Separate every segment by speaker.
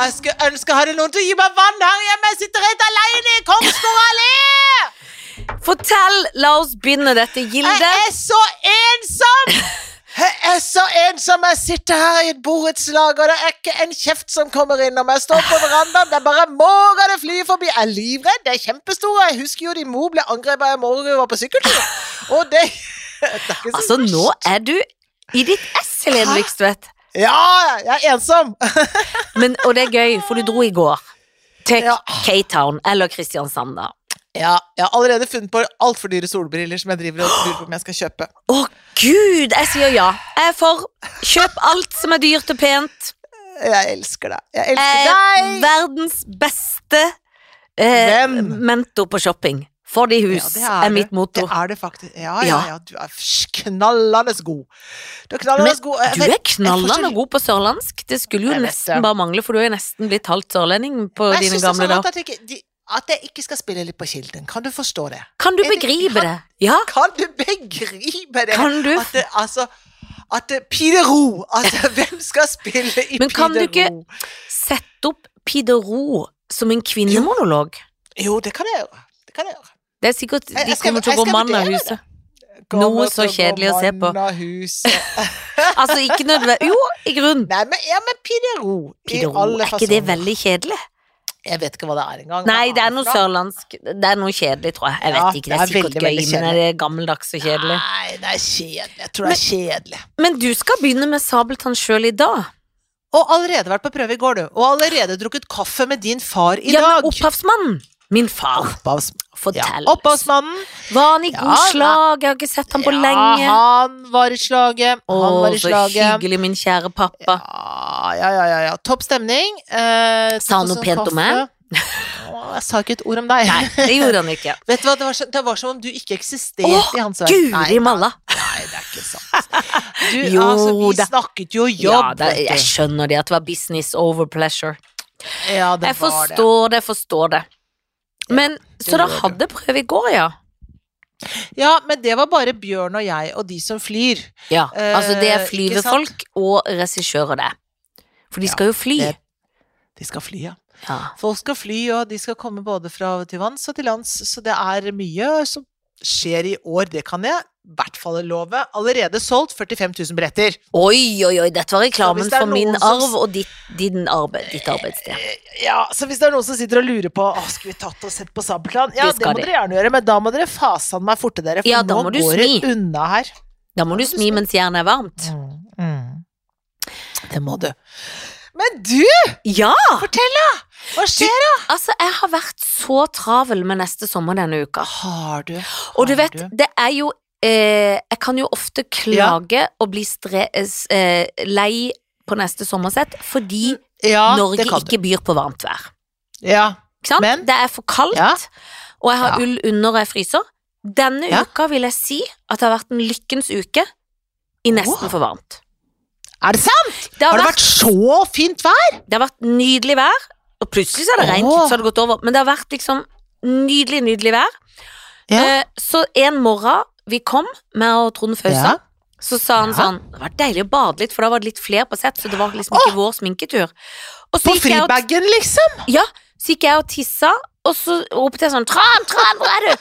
Speaker 1: Jeg skulle ønske jeg hadde noen til å gi meg vann her hjemme. Jeg sitter helt alene i Kongsgård allé!
Speaker 2: Fortell! La oss begynne dette, Gilde.
Speaker 1: Jeg er så ensom! Jeg er så ensom. Jeg sitter her i et borettslag, og det er ikke en kjeft som kommer innom. Jeg står på verandaen, det er bare måker det flyr forbi. Jeg er livredd, det er kjempestore. Jeg husker jo de mor ble angrepet av en måke var på sykkeltur. Og det det er ikke så
Speaker 2: Altså, nå
Speaker 1: verst.
Speaker 2: er du i ditt ess, Helene
Speaker 1: Hæ?
Speaker 2: Lykstvedt.
Speaker 1: Ja, jeg er ensom.
Speaker 2: Men- Og det er gøy, for du dro i går til
Speaker 1: Ja.
Speaker 2: K-Town eller Kristiansand, da.
Speaker 1: Ja, jeg har allerede funnet på altfor dyre solbriller som jeg driver og lurer på om jeg skal kjøpe.
Speaker 2: Å, gud! Jeg sier ja. Jeg er for. Kjøp alt som er dyrt og pent.
Speaker 1: Jeg elsker deg. Jeg
Speaker 2: Jeg
Speaker 1: elsker
Speaker 2: er
Speaker 1: deg!
Speaker 2: verdens beste eh,
Speaker 1: Venn.
Speaker 2: mentor på shopping. For de hus
Speaker 1: Ja, det
Speaker 2: er,
Speaker 1: er det.
Speaker 2: mitt motto.
Speaker 1: Det er det faktisk. Ja, ja, ja. Du er knallende god. Du er
Speaker 2: Men
Speaker 1: knallende god. Jeg
Speaker 2: du
Speaker 1: vet-
Speaker 2: er
Speaker 1: jeg får
Speaker 2: knallende
Speaker 1: så-
Speaker 2: god på sørlandsk. Det skulle jo
Speaker 1: Jeg vet
Speaker 2: nesten
Speaker 1: det.
Speaker 2: bare mangle, for du er jo nesten blitt halvt sørlending på
Speaker 1: Men jeg
Speaker 2: dine
Speaker 1: synes det er
Speaker 2: gamle
Speaker 1: så rart
Speaker 2: dager.
Speaker 1: At, jeg ikke- de- at jeg ikke skal spille litt på Kilden. Kan du forstå det?
Speaker 2: Kan du
Speaker 1: Er det-
Speaker 2: begripe
Speaker 1: kan-
Speaker 2: det? Ja,
Speaker 1: Kan du begripe det?
Speaker 2: kan du?
Speaker 1: At det, altså At det Pidero! At hvem skal spille i
Speaker 2: Men kan du ikke-
Speaker 1: Pidero?
Speaker 2: Sett opp Pidero som en kvinnemonolog.
Speaker 1: Jo, det kan jeg gjøre. Det kan jeg gjøre.
Speaker 2: Det er sikkert
Speaker 1: Jeg-
Speaker 2: De
Speaker 1: jeg skal-
Speaker 2: kommer til
Speaker 1: jeg
Speaker 2: å gå
Speaker 1: skal
Speaker 2: mann av
Speaker 1: vurdere
Speaker 2: huset. Noe så kjedelig å se på.
Speaker 1: på.
Speaker 2: Altså, ikke nødvendig Jo, i grunnen.
Speaker 1: Nei, men, ja, men Pidero. i
Speaker 2: Pidero,
Speaker 1: alle
Speaker 2: er ikke det
Speaker 1: fasonger.
Speaker 2: veldig kjedelig?
Speaker 1: Jeg vet ikke hva det er engang.
Speaker 2: Nei,
Speaker 1: Hva
Speaker 2: det er noe
Speaker 1: fra?
Speaker 2: sørlandsk Det er noe kjedelig, tror jeg. Jeg vet
Speaker 1: Ja,
Speaker 2: ikke, det er
Speaker 1: det er veldig,
Speaker 2: sikkert
Speaker 1: Ah. veldig
Speaker 2: gøy, men er det gammeldags og kjedelig?
Speaker 1: Nei, det er kjedelig. Jeg tror det er kjedelig.
Speaker 2: Men du skal begynne med Sabeltann sjøl i dag.
Speaker 1: Og allerede vært på prøve i går, du. Og allerede drukket kaffe med din far i
Speaker 2: ja,
Speaker 1: dag.
Speaker 2: men opphavsmannen! Min far.
Speaker 1: Opphavs- ja.
Speaker 2: Fortell.
Speaker 1: Opphavsmannen.
Speaker 2: Var han i
Speaker 1: Ja,
Speaker 2: god
Speaker 1: nei.
Speaker 2: slag? Jeg har ikke sett ham på
Speaker 1: Ja,
Speaker 2: lenge.
Speaker 1: han var i slaget.
Speaker 2: Å,
Speaker 1: Han var i
Speaker 2: så
Speaker 1: slaget.
Speaker 2: hyggelig, min kjære pappa.
Speaker 1: Ja, ja, ja, ja, ja. Topp stemning. Eh,
Speaker 2: Sa han noe
Speaker 1: tusen
Speaker 2: pent om
Speaker 1: kaffe.
Speaker 2: meg?
Speaker 1: Å, Jeg sa ikke et ord om deg.
Speaker 2: Nei, det gjorde han ikke.
Speaker 1: Vet du hva, Det var, så, det var som om du ikke eksisterte
Speaker 2: Å,
Speaker 1: i hans verden.
Speaker 2: Guri malla.
Speaker 1: Nei, det er ikke sant. Du,
Speaker 2: Jo
Speaker 1: altså, vi
Speaker 2: da.
Speaker 1: snakket jo jobb,
Speaker 2: Ja, det,
Speaker 1: vet
Speaker 2: jeg
Speaker 1: du.
Speaker 2: skjønner det, at det var business over pleasure.
Speaker 1: Ja, det
Speaker 2: Jeg
Speaker 1: var det.
Speaker 2: forstår det, jeg forstår det. Men, så
Speaker 1: gjør
Speaker 2: dere
Speaker 1: du.
Speaker 2: hadde prøve i går, ja?
Speaker 1: Ja, men det var bare Bjørn og jeg og de som flyr.
Speaker 2: Ja,
Speaker 1: Eh,
Speaker 2: altså det er
Speaker 1: ikke
Speaker 2: flyvefolk og regissører det. For de
Speaker 1: Ja,
Speaker 2: skal jo fly.
Speaker 1: det- De skal fly, ja.
Speaker 2: Ja.
Speaker 1: Folk skal fly, og de skal komme både fra til vanns og til lands. Så det er mye som skjer i år, det kan jeg i hvert fall love. Allerede solgt 45 000 billetter.
Speaker 2: Oi, oi, oi, dette var reklamen
Speaker 1: Så hvis det er
Speaker 2: for min
Speaker 1: noen som-
Speaker 2: arv og ditt, din arbeid, ditt arbeidssted.
Speaker 1: Eh, Ja, så hvis det er noen som sitter og lurer på Åh, skulle vi tatt og sett på Sabeltann, ja,
Speaker 2: Det
Speaker 1: det,
Speaker 2: skal
Speaker 1: må
Speaker 2: de.
Speaker 1: dere gjerne gjøre, men da må dere fasan meg forte dere, for
Speaker 2: Ja, da
Speaker 1: nå
Speaker 2: må du
Speaker 1: går
Speaker 2: smi.
Speaker 1: det unna her.
Speaker 2: Da må du smi mens jernet er varmt. Mm,
Speaker 1: Det må du. Men du,
Speaker 2: Ja,
Speaker 1: fortell da! Hva skjer?
Speaker 2: altså jeg har vært så travel med neste sommer denne uka.
Speaker 1: Har du?
Speaker 2: Og du
Speaker 1: har
Speaker 2: vet, det er jo eh, Jeg kan jo ofte klage og bli stre eh, s- eh, lei på neste sommersett fordi
Speaker 1: Mm, Ja,
Speaker 2: Norge
Speaker 1: det kan
Speaker 2: ikke byr på varmt vær.
Speaker 1: du. Ja.
Speaker 2: Ikke sant?
Speaker 1: Men-
Speaker 2: det er for kaldt,
Speaker 1: Ja.
Speaker 2: og jeg har
Speaker 1: Ja.
Speaker 2: ull under og jeg fryser. Denne
Speaker 1: Ja.
Speaker 2: uka vil jeg si at det har vært en lykkens uke i nesten
Speaker 1: Wow.
Speaker 2: for varmt.
Speaker 1: Er det sant?
Speaker 2: Det har,
Speaker 1: Har det
Speaker 2: vært,
Speaker 1: vært så fint vær?
Speaker 2: det har vært nydelig vær, og plutselig så har det regnet
Speaker 1: Åh.
Speaker 2: litt, så har det gått over. Men det har vært liksom nydelig, nydelig vær.
Speaker 1: Ja.
Speaker 2: Eh, så en morgen vi kom, med og Trond Fausa,
Speaker 1: Ja.
Speaker 2: så sa han
Speaker 1: Ja.
Speaker 2: sånn Det var deilig å bade litt, for da var det litt flere på sett, så det var liksom ikke vår sminketur. Og så
Speaker 1: På
Speaker 2: gikk jeg og
Speaker 1: fribagen, liksom?
Speaker 2: Ja, så gikk jeg og tissa, og så ropte jeg sånn Tran, Tran, hvor er du?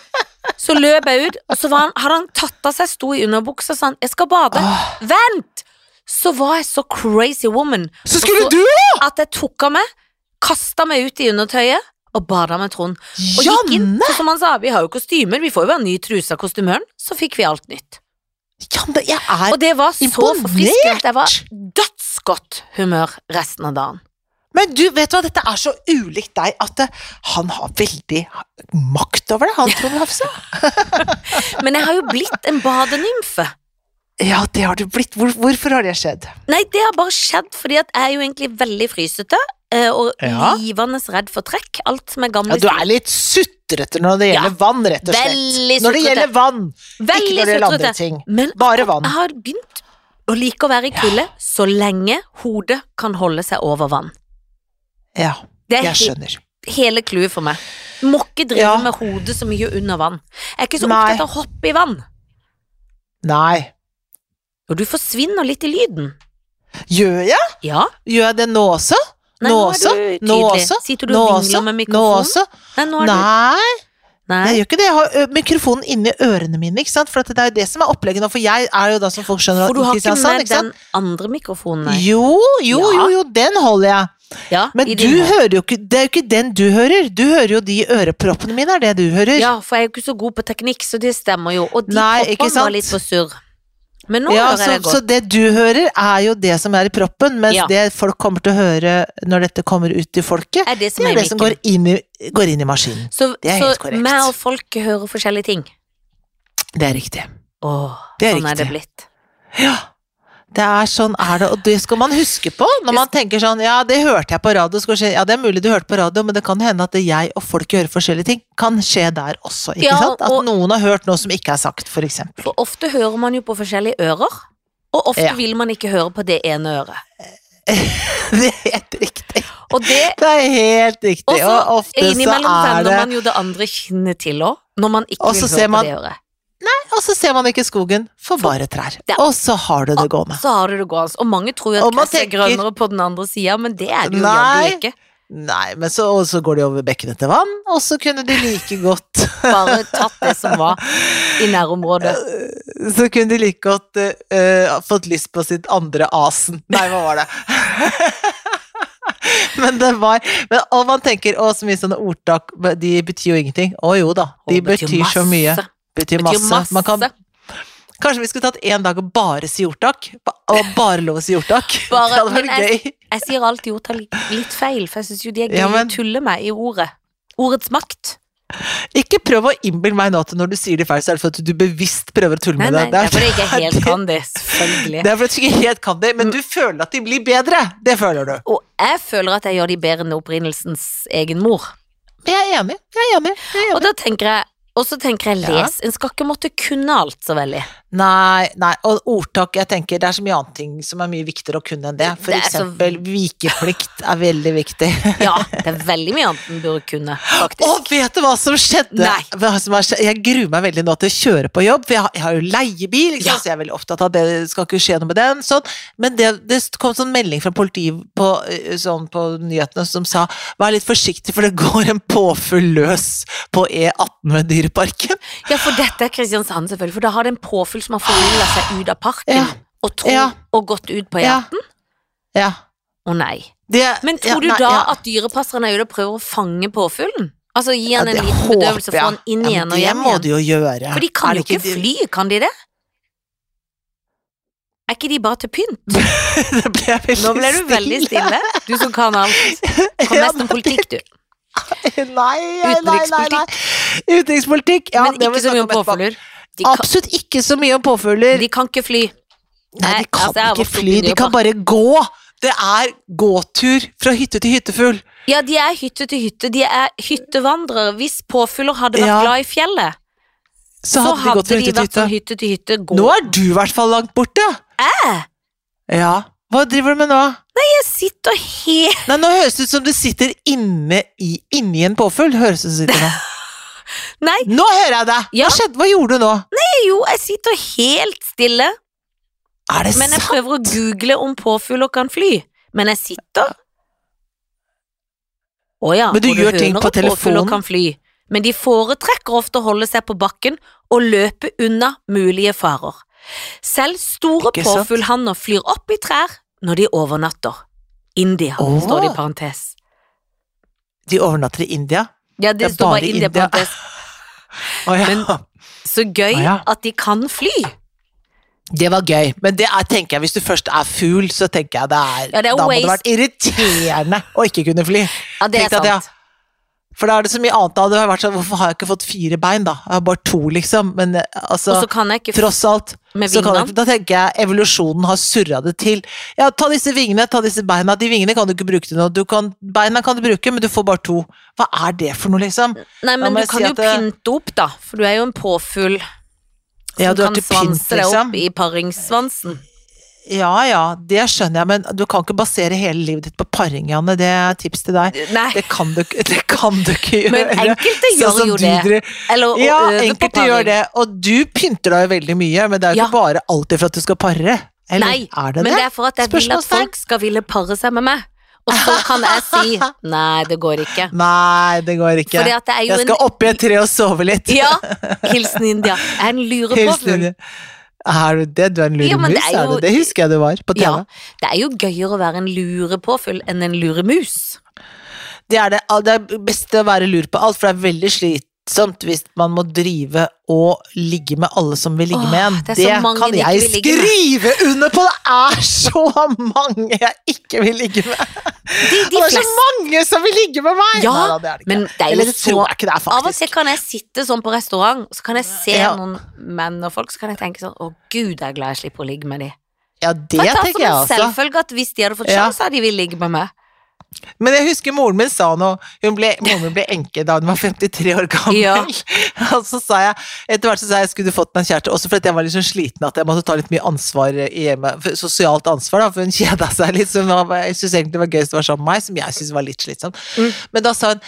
Speaker 2: Så løp jeg ut, og så var han, hadde han tatt av seg, sto i underbuksa og sa han, jeg skal bade.
Speaker 1: Åh,
Speaker 2: Vent! Så var jeg så crazy woman
Speaker 1: så skulle
Speaker 2: Og så-
Speaker 1: du òg!
Speaker 2: at jeg tok av meg, kasta meg ut i undertøyet og bada med Trond. Og gikk inn,
Speaker 1: Janne!
Speaker 2: så som han sa, vi har jo kostymer, vi får jo være ny truse av kostymøren. Så fikk vi alt nytt.
Speaker 1: Janne, jeg
Speaker 2: Og
Speaker 1: er
Speaker 2: det var så
Speaker 1: Imponert!
Speaker 2: forfriskende. Jeg var dødsgodt humør resten av dagen.
Speaker 1: Men du, vet du hva, dette er så ulikt deg at eh, han har veldig makt over det, han Trond Hafsa.
Speaker 2: Men jeg har jo blitt en badenymfe.
Speaker 1: Ja, det har du blitt. Hvor, hvorfor har det skjedd?
Speaker 2: Nei, det har bare skjedd fordi at jeg er jo egentlig veldig frysete eh, og
Speaker 1: Ja.
Speaker 2: livende redd for trekk. Alt som er gammel
Speaker 1: Ja, du er litt sutrete når det gjelder vann, rett og slett.
Speaker 2: Veldig
Speaker 1: Når det
Speaker 2: sutrete. ah,
Speaker 1: gjelder vann, ikke
Speaker 2: veldig
Speaker 1: når det gjelder andre
Speaker 2: sutrete.
Speaker 1: ting.
Speaker 2: Men
Speaker 1: Bare vann.
Speaker 2: jeg har begynt å like å være i kulde så lenge hodet kan holde seg over vann.
Speaker 1: Ja,
Speaker 2: Det er
Speaker 1: jeg skjønner.
Speaker 2: he- hele clouet for meg. Må ikke drive
Speaker 1: Ja.
Speaker 2: med hodet så mye under vann. Jeg er ikke så
Speaker 1: Nei.
Speaker 2: opptatt av å hoppe i vann.
Speaker 1: Nei.
Speaker 2: Og du forsvinner litt i lyden.
Speaker 1: Gjør jeg?
Speaker 2: Ja,
Speaker 1: Gjør jeg det nå også?
Speaker 2: Nei,
Speaker 1: Nå
Speaker 2: er
Speaker 1: også?
Speaker 2: du
Speaker 1: Nå
Speaker 2: tydelig.
Speaker 1: også?
Speaker 2: Sitter du
Speaker 1: Nå
Speaker 2: og
Speaker 1: også?
Speaker 2: vingler med
Speaker 1: Nå
Speaker 2: mikrofonen?
Speaker 1: også?
Speaker 2: Nei, nå er du
Speaker 1: Nei. Jeg
Speaker 2: Nei.
Speaker 1: gjør ikke det. Jeg har ø, mikrofonen inni ørene mine, ikke sant? For at det er jo det som er opplegget nå, for jeg er jo da som folk skjønner
Speaker 2: For du
Speaker 1: i
Speaker 2: har ikke
Speaker 1: Kristiansand,
Speaker 2: med
Speaker 1: ikke sånn. sant?
Speaker 2: den andre mikrofonen, nei.
Speaker 1: Jo, jo,
Speaker 2: Ja.
Speaker 1: jo, jo, den holder jeg.
Speaker 2: Ja,
Speaker 1: Men
Speaker 2: i
Speaker 1: du
Speaker 2: din hånd.
Speaker 1: hører jo ikke Det er jo ikke den du hører. Du hører jo de øreproppene mine, er det du hører.
Speaker 2: Ja, for jeg er jo ikke så god på teknikk, så det stemmer jo. Og de
Speaker 1: Nei, ikke
Speaker 2: proppene
Speaker 1: sant?
Speaker 2: var litt for surr. Men nå
Speaker 1: Ja,
Speaker 2: hører
Speaker 1: så,
Speaker 2: jeg det
Speaker 1: så
Speaker 2: godt.
Speaker 1: det du hører, er jo det som er i proppen, mens
Speaker 2: Ja.
Speaker 1: det folk kommer til å høre når dette kommer ut til folket,
Speaker 2: er det
Speaker 1: det
Speaker 2: som
Speaker 1: er
Speaker 2: er
Speaker 1: det som går
Speaker 2: mikken.
Speaker 1: inn i, går inn i maskinen.
Speaker 2: Så,
Speaker 1: Det er helt
Speaker 2: så
Speaker 1: korrekt.
Speaker 2: meg og folk hører forskjellige ting.
Speaker 1: Det er riktig.
Speaker 2: Åh,
Speaker 1: Det er
Speaker 2: sånn er det
Speaker 1: riktig.
Speaker 2: blitt.
Speaker 1: Ja. Det er sånn er det, og det skal man huske på når man tenker sånn Ja, det hørte jeg på radio, skal skje. Ja, det er mulig du hørte på radio, men det kan hende at det jeg og folk hører forskjellige ting, kan skje der også, ikke
Speaker 2: Ja,
Speaker 1: sant? At
Speaker 2: og-
Speaker 1: noen har hørt noe som ikke er sagt, for eksempel.
Speaker 2: For ofte hører man jo på forskjellige ører, og ofte
Speaker 1: Ja.
Speaker 2: vil man ikke høre på det ene øret.
Speaker 1: Det er helt riktig.
Speaker 2: Og det
Speaker 1: Det er helt riktig,
Speaker 2: Også
Speaker 1: og ofte så
Speaker 2: innimellom
Speaker 1: er
Speaker 2: vender
Speaker 1: det
Speaker 2: man jo det andre kinnet til òg, når man ikke
Speaker 1: Og så
Speaker 2: vil
Speaker 1: ser
Speaker 2: høre
Speaker 1: man-
Speaker 2: på det øret.
Speaker 1: Og så ser man ikke skogen for bare trær.
Speaker 2: Ja.
Speaker 1: Og så har du det gående.
Speaker 2: Så har du det gående. Og mange tror jo
Speaker 1: Og
Speaker 2: at
Speaker 1: man
Speaker 2: gresset er
Speaker 1: tenker-
Speaker 2: grønnere på den andre sida, men det er det jo
Speaker 1: Nei.
Speaker 2: jaggu ikke.
Speaker 1: Nei, men så, og så går de over bekkene til vann, og så kunne de like godt
Speaker 2: Bare tatt det som var i nærområdet.
Speaker 1: Så kunne de like godt eh, eh, fått lyst på sitt andre asen. Nei, hva var det? men det var men, Og man tenker å, så mye sånne ordtak, men de betyr jo ingenting. Å jo da,
Speaker 2: Og
Speaker 1: de
Speaker 2: det
Speaker 1: betyr, så mye.
Speaker 2: masse.
Speaker 1: Betyr
Speaker 2: Betyr
Speaker 1: masse.
Speaker 2: masse.
Speaker 1: Man kan, kanskje vi skulle tatt én dag og bare si ordtak? Ba- Og bare lov å si ordtak?
Speaker 2: Bare-
Speaker 1: det hadde
Speaker 2: men jeg-
Speaker 1: vært gøy.
Speaker 2: Jeg sier alltid ordtak litt feil, for jeg syns jo de er gøy
Speaker 1: Ja, men-
Speaker 2: å tulle med i ordet. Ordets makt.
Speaker 1: Ikke prøv å innbille meg nå at når du sier det feil, så er det for at du bevisst prøver å tulle
Speaker 2: Nei,
Speaker 1: med
Speaker 2: nei,
Speaker 1: det.
Speaker 2: det er fordi jeg ikke
Speaker 1: det-
Speaker 2: helt kan det, selvfølgelig.
Speaker 1: Det er fordi du ikke helt kan det, men
Speaker 2: Mm.
Speaker 1: du føler at de blir bedre. Det føler du.
Speaker 2: Og jeg føler at jeg gjør de bedre enn opprinnelsens egen mor.
Speaker 1: Jeg er enig. Jeg er enig. Jeg er
Speaker 2: Og
Speaker 1: enig.
Speaker 2: da tenker jeg og så tenker jeg
Speaker 1: Ja.
Speaker 2: les. En skal ikke måtte kunne alt så veldig.
Speaker 1: Nei, nei, og ordtak jeg tenker, Det er så mye annet ting som er mye viktigere å kunne enn det. For
Speaker 2: Det er så-
Speaker 1: eksempel vikeplikt er veldig viktig.
Speaker 2: Ja, det er veldig mye annet en burde kunne, faktisk.
Speaker 1: Og vet du hva som skjedde?
Speaker 2: Nei.
Speaker 1: Hva som har skjedd? Jeg gruer meg veldig nå til å kjøre på jobb, for jeg har, jeg har jo leiebil, ikke sant?
Speaker 2: Ja.
Speaker 1: så jeg er veldig opptatt av det, det skal ikke skje noe med den. Sånn. Men det, det kom sånn melding fra politiet på, eh, sånn, på nyhetene som sa vær litt forsiktig, for det går en påfugl løs på E18 ved Dyreparken.
Speaker 2: Ja, for dette er Kristiansand, selvfølgelig. For da har det en påfugl som har forvilla seg ut av parken
Speaker 1: Ja.
Speaker 2: og, tro,
Speaker 1: Ja.
Speaker 2: og gått ut på ja.
Speaker 1: Ja.
Speaker 2: Å nei.
Speaker 1: Det-
Speaker 2: Men
Speaker 1: ja,
Speaker 2: tror du
Speaker 1: nei,
Speaker 2: da
Speaker 1: ja.
Speaker 2: at dyrepasserne er ute og prøver å fange påfuglen? Altså gi han
Speaker 1: Ja, det
Speaker 2: en liten
Speaker 1: håper
Speaker 2: bedøvelse, få
Speaker 1: jeg.
Speaker 2: han inn
Speaker 1: Ja,
Speaker 2: igjen
Speaker 1: men
Speaker 2: og
Speaker 1: Det
Speaker 2: hjem
Speaker 1: må
Speaker 2: igjen?
Speaker 1: du jo gjøre.
Speaker 2: For de
Speaker 1: Er
Speaker 2: kan jo
Speaker 1: det
Speaker 2: ikke fly, kan de det? Er ikke de bare til pynt?
Speaker 1: Det ble jeg veldig
Speaker 2: Nå ble du veldig stille, du som kan alt. Kan
Speaker 1: Ja,
Speaker 2: mest om politikk, du.
Speaker 1: Nei, nei, nei, nei, nei. Utenrikspolitikk. Ja,
Speaker 2: Men
Speaker 1: det må
Speaker 2: ikke
Speaker 1: vi
Speaker 2: så mye
Speaker 1: snakke
Speaker 2: om
Speaker 1: etterpå.
Speaker 2: påfugler. De kan,
Speaker 1: Absolutt ikke så mye om påfugler.
Speaker 2: de kan ikke fly.
Speaker 1: Nei,
Speaker 2: Nei,
Speaker 1: de kan
Speaker 2: altså, jeg har
Speaker 1: ikke
Speaker 2: vokst opp
Speaker 1: fly,
Speaker 2: i
Speaker 1: de kan
Speaker 2: Dyreparken.
Speaker 1: bare gå. Det er gåtur fra hytte til hyttefugl.
Speaker 2: Ja, de er hytte til hytte. De er hyttevandrere. Hvis påfugler hadde vært
Speaker 1: Ja.
Speaker 2: glad i fjellet,
Speaker 1: Så
Speaker 2: så
Speaker 1: hadde de
Speaker 2: hadde
Speaker 1: gått fra
Speaker 2: de
Speaker 1: hytte til
Speaker 2: vært fra
Speaker 1: hytte.
Speaker 2: hytte til hytte. Gå.
Speaker 1: Nå er du i hvert fall langt borte.
Speaker 2: Jeg?
Speaker 1: Ja. Hva driver du med nå?
Speaker 2: Jeg sitter helt
Speaker 1: Nei, Nå høres det ut som du sitter inne i, inni en påfugl. Høres det ut som du sitter nå.
Speaker 2: Nei,
Speaker 1: Nå hører jeg deg!
Speaker 2: Ja.
Speaker 1: Hva skjedde? Hva gjorde du nå?
Speaker 2: jo, jeg sitter helt stille,
Speaker 1: Er det
Speaker 2: men jeg
Speaker 1: sant?
Speaker 2: prøver å google om påfugler kan fly. Men jeg sitter Å ja.
Speaker 1: Men du
Speaker 2: og
Speaker 1: gjør ting
Speaker 2: hører
Speaker 1: på
Speaker 2: at Påfugler
Speaker 1: telefonen.
Speaker 2: kan fly. Men de foretrekker ofte å holde seg på bakken og løpe unna mulige farer. Selv store
Speaker 1: Ikke sant?
Speaker 2: påfuglhanner flyr opp i trær når de overnatter. India,
Speaker 1: Åh.
Speaker 2: står det i parentes.
Speaker 1: De overnatter i India.
Speaker 2: Ja, det,
Speaker 1: Det er
Speaker 2: står
Speaker 1: bare
Speaker 2: bare India, i
Speaker 1: India.
Speaker 2: parentes.
Speaker 1: Å, ja.
Speaker 2: Men- Så gøy
Speaker 1: Å, ja.
Speaker 2: at de kan fly.
Speaker 1: det var gøy, men det er, tenker jeg, hvis du først er fugl, så tenker jeg det er,
Speaker 2: Ja, det er
Speaker 1: Da må det
Speaker 2: waste.
Speaker 1: vært irriterende å ikke kunne fly.
Speaker 2: Ja, det er
Speaker 1: Tenkte at
Speaker 2: sant.
Speaker 1: jeg- For da er det så mye annet da. Det har vært sånn, hvorfor har jeg ikke fått fire bein, da? Jeg har bare to, liksom. Men eh, altså,
Speaker 2: Og så kan jeg ikke fly
Speaker 1: tross alt.
Speaker 2: med
Speaker 1: Så kan
Speaker 2: vingene.
Speaker 1: jeg, da tenker jeg evolusjonen har surra det til. Ja, ta disse vingene, ta disse beina. De vingene kan du ikke bruke til noe. Du kan, beina kan du bruke, men du får bare to. Hva er det for noe, liksom?
Speaker 2: Nei,
Speaker 1: Da
Speaker 2: men
Speaker 1: må
Speaker 2: du
Speaker 1: jeg
Speaker 2: kan
Speaker 1: si
Speaker 2: jo
Speaker 1: at det-
Speaker 2: pynte opp, da. For du er jo en påfugl som
Speaker 1: Ja, du har
Speaker 2: kan
Speaker 1: ikke pynt,
Speaker 2: svanse deg
Speaker 1: liksom.
Speaker 2: opp i paringssvansen.
Speaker 1: Ja ja, det skjønner jeg, men du kan ikke basere hele livet ditt på paring, Janne. Det er tips til deg.
Speaker 2: Nei,
Speaker 1: Det kan du, ikke- det kan du ikke gjøre.
Speaker 2: men enkelte
Speaker 1: Sånn
Speaker 2: gjør
Speaker 1: som
Speaker 2: jo
Speaker 1: du
Speaker 2: det.
Speaker 1: driver-
Speaker 2: Eller å
Speaker 1: Ja,
Speaker 2: øve på
Speaker 1: enkelte gjør
Speaker 2: paring.
Speaker 1: det, og du pynter deg jo veldig mye, men det er jo
Speaker 2: Ja.
Speaker 1: ikke bare alltid for at du skal pare. Eller
Speaker 2: Nei,
Speaker 1: er det det?
Speaker 2: Men det er for at jeg vil at
Speaker 1: Spørsmålstegn.
Speaker 2: folk skal ville pare seg med meg. Og så kan jeg si nei, det går ikke.
Speaker 1: Nei, det går ikke.
Speaker 2: Fordi at det er jo
Speaker 1: Jeg skal opp i et tre og sove litt.
Speaker 2: en Ja, hilsen India. Jeg er en lurepåfugl.
Speaker 1: Hilsen. Er du det? Du er en
Speaker 2: Ja, men
Speaker 1: luremus,
Speaker 2: det er
Speaker 1: er
Speaker 2: jo-
Speaker 1: det? Det husker jeg du var på TV.
Speaker 2: Ja, det er jo gøyere å være en lurepåfugl enn en luremus.
Speaker 1: Det er det, all- det er beste å være lur på alt, for det er veldig slitsomt hvis man må drive og ligge med alle som vil ligge med en.
Speaker 2: Åh, det er
Speaker 1: Det,
Speaker 2: så mange
Speaker 1: kan
Speaker 2: du ikke
Speaker 1: jeg
Speaker 2: vil ligge med.
Speaker 1: skrive under på! Det er så mange jeg ikke vil ligge med!
Speaker 2: De,
Speaker 1: Og
Speaker 2: de
Speaker 1: det er så
Speaker 2: fleste
Speaker 1: mange som vil ligge med meg!
Speaker 2: Ja,
Speaker 1: Neida, det er det ikke.
Speaker 2: men det er jo
Speaker 1: Eller det
Speaker 2: så-
Speaker 1: tror jeg ikke det er,
Speaker 2: Av og
Speaker 1: faktisk.
Speaker 2: til kan jeg sitte sånn på restaurant, så kan jeg se
Speaker 1: Ja.
Speaker 2: noen menn og folk, så kan jeg tenke sånn Å, gud, jeg er glad jeg slipper å ligge med de.
Speaker 1: Ja, det
Speaker 2: Kan jeg ta
Speaker 1: tenker
Speaker 2: som
Speaker 1: jeg
Speaker 2: en
Speaker 1: også.
Speaker 2: altså selvfølge at hvis de hadde fått
Speaker 1: Ja.
Speaker 2: sjanse, hadde de ville ligge med meg.
Speaker 1: Men jeg husker moren min sa noe hun ble, Moren min ble enke da hun var 53 år gammel.
Speaker 2: Ja.
Speaker 1: Og så sa jeg etter hvert så sa jeg skulle du fått meg en kjæreste, også fordi at jeg var litt sånn sliten at jeg måtte ta litt mye ansvar i hjemmet. for- Sosialt ansvar, da, for hun kjeda seg litt. Så hun var, jeg syntes egentlig det var gøyest å være sammen med meg, som jeg syntes var litt slitsomt.
Speaker 2: Mm.
Speaker 1: Men da sa hun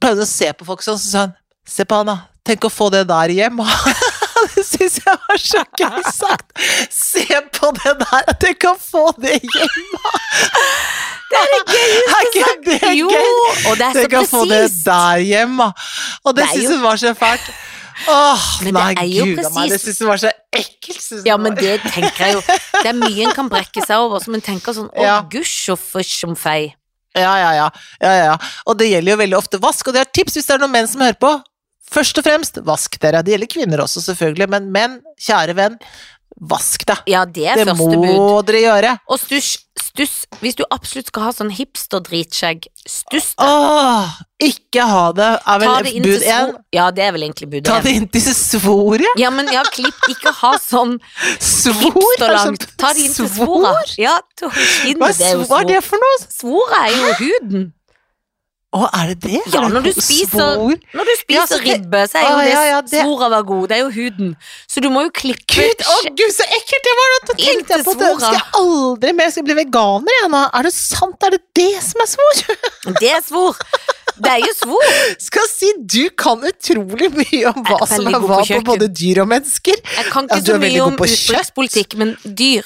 Speaker 1: Prøvde å se på folk sånn, så sa hun Se på han, da. Tenk å få det der hjem. Det syns jeg var så gøy sagt. Se på det der, tenk å få det hjem. Er ikke det
Speaker 2: Jo,
Speaker 1: gøy?
Speaker 2: og det er
Speaker 1: Dere
Speaker 2: så
Speaker 1: kan få det
Speaker 2: presist.
Speaker 1: der hjemme. Og det
Speaker 2: Det er
Speaker 1: syns
Speaker 2: jo-
Speaker 1: hun var så fælt. Åh,
Speaker 2: Men det
Speaker 1: nei,
Speaker 2: er jo
Speaker 1: gud a meg. Det
Speaker 2: presist.
Speaker 1: syns hun var så ekkelt. synes
Speaker 2: Ja,
Speaker 1: hun
Speaker 2: men
Speaker 1: var.
Speaker 2: det tenker jeg jo. Det er mye en kan brekke seg over, som en tenker sånn Å,
Speaker 1: Ja.
Speaker 2: gusj og fysj om fei.
Speaker 1: ja, ja, ja, ja, ja, ja. Og det gjelder jo veldig ofte vask, og det er et tips hvis det er noen menn som hører på. Først og fremst, vask dere. Det gjelder kvinner også, selvfølgelig, men menn, kjære venn, vask deg.
Speaker 2: Ja, det er
Speaker 1: Det
Speaker 2: første bud.
Speaker 1: må dere gjøre.
Speaker 2: Og stuss, stuss. Hvis du absolutt skal ha sånn hipster-dritskjegg, stuss.
Speaker 1: Åh, ikke ha det, er
Speaker 2: Ta
Speaker 1: vel
Speaker 2: det inn til
Speaker 1: bud
Speaker 2: svor.
Speaker 1: én.
Speaker 2: Ja, det er vel egentlig bud
Speaker 1: Ta
Speaker 2: én.
Speaker 1: det inn til svoret.
Speaker 2: Ja, men ja, klipp. Ikke ha sånn
Speaker 1: Svor?
Speaker 2: hipster
Speaker 1: er det
Speaker 2: langt.
Speaker 1: sånn-
Speaker 2: Ta det inn til
Speaker 1: Svor?
Speaker 2: svora. Ja, til
Speaker 1: Hva
Speaker 2: skinnet,
Speaker 1: er
Speaker 2: det er jo
Speaker 1: svor? Hva er
Speaker 2: svor.
Speaker 1: det for noe?
Speaker 2: Svoret er jo huden.
Speaker 1: Å, er det det?
Speaker 2: Ja,
Speaker 1: Er det
Speaker 2: når du
Speaker 1: ho-
Speaker 2: spiser-
Speaker 1: svor?
Speaker 2: Når du
Speaker 1: Ja,
Speaker 2: spiser
Speaker 1: så det-
Speaker 2: ribbe, så er jo
Speaker 1: Å,
Speaker 2: det,
Speaker 1: ja, ja, det-
Speaker 2: svora var god. Det er jo huden. Så du må jo klippe
Speaker 1: Gud, å gud, så ekkelt det var! Da
Speaker 2: Inn
Speaker 1: tenkte jeg
Speaker 2: til
Speaker 1: på det.
Speaker 2: svora.
Speaker 1: Skal jeg aldri mer skal jeg bli veganer igjen? da? Er det sant? Er det det som er svor?
Speaker 2: Det er svor. Det er jo svor.
Speaker 1: Skal jeg si du kan utrolig mye om hva
Speaker 2: Jeg er
Speaker 1: som
Speaker 2: veldig
Speaker 1: er
Speaker 2: god
Speaker 1: hva
Speaker 2: på
Speaker 1: på
Speaker 2: kjøkken.
Speaker 1: både dyr og mennesker.
Speaker 2: Jeg kan
Speaker 1: Ja,
Speaker 2: ikke
Speaker 1: du
Speaker 2: så
Speaker 1: er veldig
Speaker 2: mye
Speaker 1: god
Speaker 2: om
Speaker 1: på kjøtt.
Speaker 2: utenrikspolitikk, men dyr.